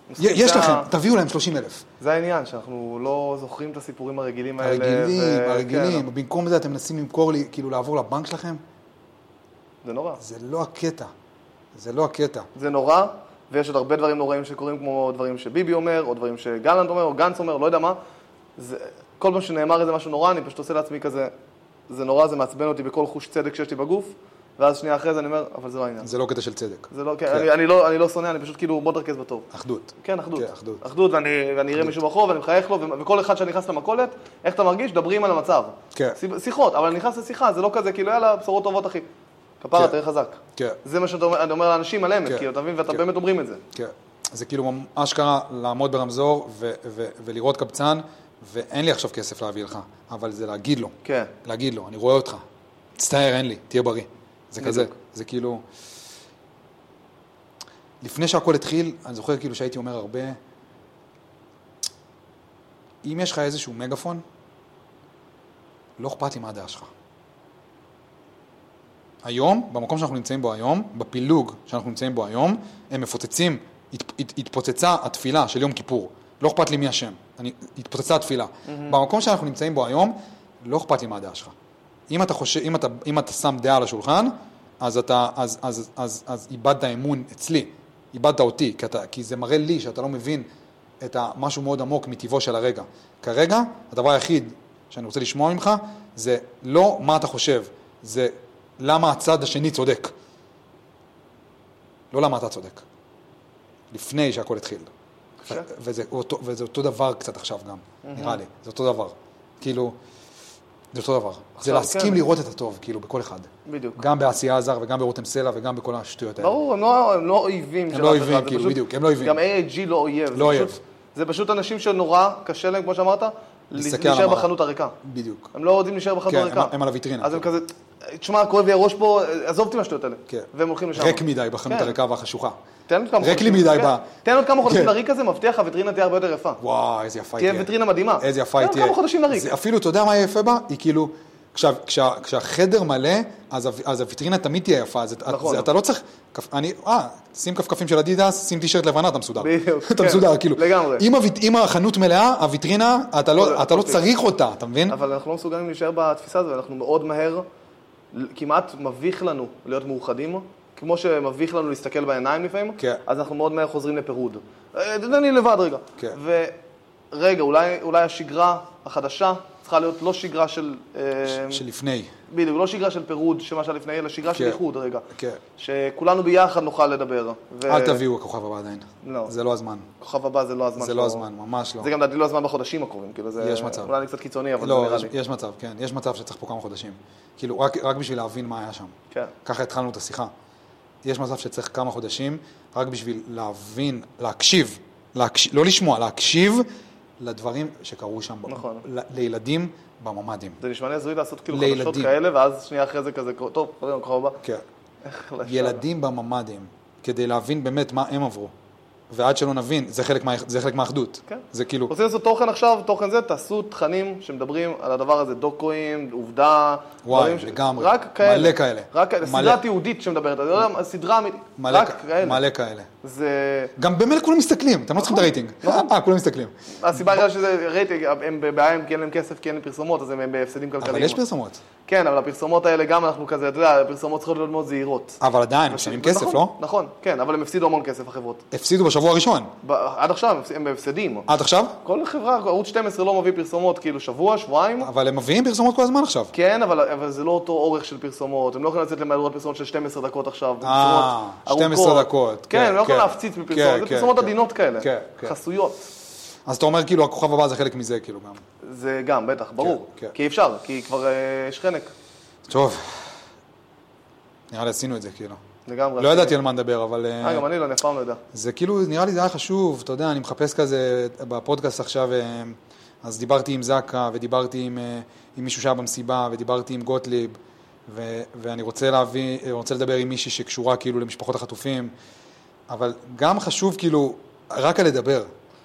מסכים,
יש
זה
לכם,
ה-
תביאו להם 30 אלף.
זה העניין, שאנחנו לא זוכרים את הסיפורים הרגילים האלה.
הרגילים,
ו-
הרגילים.
כן,
במקום זה אתם מנסים למכור לי, כאילו לעבור לבנק שלכם?
זה נורא.
זה לא הקטע. זה לא הקטע.
זה נורא, ויש עוד הרבה דברים נוראים שקורים, כמו דברים שביבי אומר, או דברים שגלנט אומר, או גנץ אומר, לא יודע מה. זה, כל פעם שנאמר איזה משהו נורא, אני פשוט עושה לעצמי כזה, זה נורא, זה מעצבן אותי בכל חוש צדק שיש לי בגוף, ואז שנייה אחרי זה אני אומר, אבל זה לא העניין.
זה לא קטע של צדק.
זה לא, כן,
כן.
אני, אני, לא, אני לא שונא, אני פשוט כאילו, בוא תרכז בתור.
אחדות.
כן, אחדות.
כן, אחדות.
אחדות, ואני, ואני אראה מישהו ברחוב, ואני מחייך לו, ו- וכל אחד שנכנס למכולת, איך אתה מרגיש? דברים על המצב.
כן.
שיב- שיחות, אבל אני נכנס לשיחה, זה לא כזה, כאילו, יאללה, בשורות טובות, אחי. כפרה,
כן.
תהיה חזק.
כן.
זה מה שאתה אומר, אני אומר לאנשים על אמת,
כן.
כאילו, אתה מבין? ואתה
כן.
באמת אומרים את זה.
כן. זה כאילו ממ- אשכרה לעמוד ברמזור ו- ו- ולראות קבצן, ואין לי עכשיו כסף להביא לך, אבל זה להגיד לו.
כן.
להגיד לו, אני רואה אותך. מצטער, אין לי, תהיה בריא. זה
בדיוק.
כזה. זה כאילו... לפני שהכל התחיל, אני זוכר כאילו שהייתי אומר הרבה, אם יש לך איזשהו מגאפון, לא אכפת לי מה הדעה שלך. היום, במקום שאנחנו נמצאים בו היום, בפילוג שאנחנו נמצאים בו היום, הם מפוצצים, הת, הת, התפוצצה התפילה של יום כיפור. לא אכפת לי מי אשם, אני, התפוצצה התפילה. Mm-hmm. במקום שאנחנו נמצאים בו היום, לא אכפת לי מה הדעה שלך. אם אתה, חושב, אם אתה, אם אתה שם דעה על השולחן, אז, אתה, אז, אז, אז, אז, אז איבדת אמון אצלי, איבדת אותי, כי, אתה, כי זה מראה לי שאתה לא מבין את ה- משהו מאוד עמוק מטבעו של הרגע. כרגע, הדבר היחיד שאני רוצה לשמוע ממך, זה לא מה אתה חושב, זה למה הצד השני צודק. לא למה אתה צודק. לפני שהכל התחיל.
בבקשה.
וזה אותו, וזה אותו דבר קצת עכשיו גם, נראה לי. זה אותו דבר. כאילו, זה אותו דבר. זה
עכשיו,
להסכים
כן.
לראות את הטוב, כאילו, בכל אחד.
בדיוק.
גם בעשייה הזר וגם ברותם סלע וגם בכל השטויות האלה.
ברור, הם לא, הם לא אויבים
הם
של
לא
אף אחד,
אויבים,
זה
כאילו,
פשוט-
בדיוק, הם לא אויבים.
גם AIG לא אויב. זה
לא
פשוט-
אויב.
זה פשוט אנשים שנורא קשה להם, כמו שאמרת,
להסתכל על
להישאר
המראה.
בחנות הריקה.
בדיוק.
הם לא יודעים להישאר בחנות
כן,
הריקה.
הם- הם על הוויטרינה.
אז הם כזה, תשמע, כואב לי הראש פה, עזוב אותי מהשטויות האלה.
כן.
והם הולכים לשם.
ריק מדי בחנות
כן.
הריקה והחשוכה.
תן עוד כמה
ריק לי מדי
כן.
ב-
תן עוד כמה חודשים
כן.
לריק הזה, מבטיח הווטרינה תהיה הרבה יותר יפה.
וואי, איזה יפה היא
תהיה
תהיה.
ויטרינה מדהימה.
איזה יפה היא
כן, גם
תהיה.
כמה חודשים לריק.
זה אפילו, אתה יודע מה יהיה יפה בה? היא כאילו, כשה- כשה- כשהחדר מלא, אז ה- אז הוויטרינה תמיד תהיה יפה. אז את-
נכון.
זה- אתה לא צריך... כפ- אני, אה, שים כפכפים של אדידס, שים טישרט לבנה, אתה מסודר.
בדיוק,
אתה
כן.
מסודר, כאילו.
לגמרי.
אם הוויט- אם החנות מלאה, הוויטרינה, אתה לא- אתה לא
אוקיי.
צריך אותה, אתה מבין?
אבל אנחנו לא מסוגלים להישאר בתפיסה הזו, אנחנו מאוד מהר, כמעט מביך לנו להיות מאוחדים, כמו שמביך לנו להסתכל בעיניים לפעמים,
כן.
אז אנחנו מאוד מהר חוזרים לפירוד. אה, תן לי לבד רגע.
כן.
ורגע, אולי, אולי השגרה החדשה צריכה להיות לא שגרה של... אה,
ש- שלפני.
בדיוק, לא שגרה של פירוד, שמה שהיה לפני, אלא שגרה של
כן.
איחוד רגע.
כן.
שכולנו ביחד נוכל לדבר. ו-
אל תביאו הכוכב הבא עדיין.
לא.
זה לא הזמן.
כוכב הבא זה לא הזמן
זה
שלו.
לא הזמן, ממש לא.
זה גם לדעתי לא הזמן בחודשים הקרובים, כאילו זה...
יש מצב.
אולי אני קצת קיצוני, אבל זה
לא,
נראה
יש-
לי.
יש מצב, כן. יש מצב שצריך פה כמה חודשים. כאילו, רק- רק בשביל להבין מה היה שם.
כן.
ככה התחלנו את השיחה. יש מצב שצריך כמה חודשים רק בשביל להבין, להקשיב, להקש... לא לשמוע, להקשיב לדברים שקרו שם. ב-
נכון.
ל... לילדים בממ"דים.
זה נשמע לי הזוי לעשות כאילו
לילדים.
חדשות כאלה, ואז שנייה אחרי זה כזה, קור- טוב, קוראים לכוכב הבא.
כן.
איך לשם.
ילדים בממ"דים, כדי להבין באמת מה הם עברו. ועד שלא נבין, זה חלק, מה... זה חלק מהאחדות.
כן.
זה כאילו,
רוצים לעשות תוכן עכשיו, תוכן זה, תעשו תכנים שמדברים על הדבר הזה, דוקואים, עובדה.
וואי,
דברים
לגמרי.
רק כאלה.
מלא כאלה.
רק כאלה.
מלא.
סדרה תיעודית שמדברת על זה, לא יודע, סדרה אמיתית.
מלא,
רק
כ-
כאלה. נכון.
מלא כאלה.
זה...
גם במילא כולם מסתכלים, אתם לא צריכים את הרייטינג. אה, כולם מסתכלים.
הסיבה הראשונה שזה רייטינג, הם בבעיה עם כי אין להם כסף, כי אין להם פרסומות, אז הם- הם בהפסדים כלכליים.
אבל יש פרסומות.
כן, אבל הפרסומות האלה גם אנחנו כזה, אתה יודע, הפרסומות צריכות להיות מאוד זהירות.
אבל עדיין, הם משלמים כסף,
נכון,
לא?
נכון, כן, אבל הם הפסידו המון כסף, החברות.
הפסידו בשבוע הראשון.
ב- עד עכשיו הם הפס- הם בהפסדים.
עד עכשיו?
כל חברה, ערוץ 12 לא מביא פרסומות, כאילו שבוע, שבועיים.
אבל הם מביאים פרסומות כל הזמן עכשיו.
כן, אבל, אבל זה לא אותו אורך של פרסומות, הם לא יכולים לצאת למהדורת פרסומות של 12 דקות עכשיו,
אה,
פרסומות
12
ארוכות.
דקות,
כן,
כן,
הם לא יכולים
כן.
להפציץ מפרסומות,
כן,
זה
כן,
פרסומות
כן.
עדינות כאלה,
כן, כן.
חסויות.
אז אתה אומר כאילו הכוכב הבא זה חלק מזה, כאילו גם.
זה גם, בטח, ברור.
כן.
כי אי אפשר, כי כבר אה, יש חנק,
טוב, נראה לי עשינו את זה, כאילו.
לגמרי.
לא ידעתי על מה נדבר, אבל...
אה, גם אני לא, אני אף פעם לא יודע.
זה כאילו, נראה לי זה היה חשוב, אתה יודע, אני מחפש כזה בפודקאסט עכשיו, אה, אז דיברתי עם זקה, ודיברתי עם, אה, עם מישהו שהיה במסיבה, ודיברתי עם גוטליב, ו, ואני רוצה להביא, אה, רוצה לדבר עם מישהי שקשורה כאילו למשפחות החטופים, אבל גם חשוב כאילו, רק על לדבר,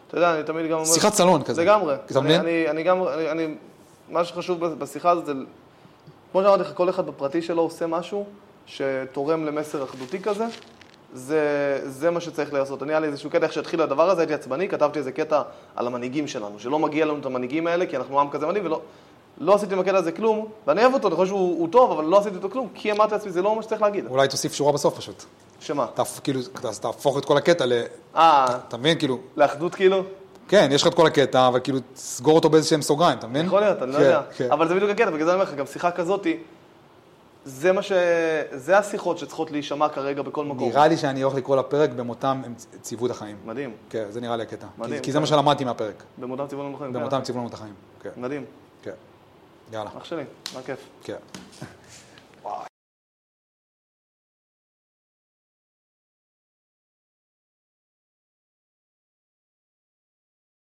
אתה יודע, אני תמיד גם אומר...
שיחת סלון כזה.
לגמרי.
אתה מבין?
אני, אני, אני גם, אני, אני, מה שחשוב בשיחה הזאת זה, כמו שאמרתי לך, כל אחד בפרטי שלו עושה משהו שתורם למסר אחדותי כזה, זה, זה מה שצריך לעשות. אני היה לי איזשהו קטע, איך שהתחיל הדבר הזה, הייתי עצבני, כתבתי איזה קטע על המנהיגים שלנו, שלא מגיע לנו את המנהיגים האלה, כי אנחנו עם כזה מדהים, ולא לא עשיתי עם הקטע הזה כלום, ואני אוהב אותו, אני חושב שהוא הוא טוב, אבל לא עשיתי אותו כלום, כי אמרתי לעצמי, זה לא מה שצריך להגיד.
אולי תוסיף שורה בסוף פשוט.
שמה?
תהפ, כאילו, ת- תהפוך את כל הקטע ל...
אה,
אתה מבין? כאילו,
לאחדות כאילו?
כן, יש לך את כל הקטע, אבל כאילו, תסגור אותו באיזה שהם סוגריים, אתה מבין?
יכול להיות, אני לא
כן,
יודע.
כן.
אבל זה בדיוק הקטע, בגלל זה אני אומר לך, גם שיחה כזאת, זה מה ש... זה השיחות שצריכות להישמע כרגע בכל מקום.
נראה לי שאני הולך לקרוא לפרק במותם הם צ- ציוו את החיים.
מדהים.
כן, זה נראה לי הקטע. כי-
מדהים.
כי זה מה שלמדתי מהפרק.
במותם כן. ציוון לנו חיים.
במותם ציוו לנו את החיים. כן,
מדהים.
כן. יאללה,
אח שלי, מה כיף.
כן.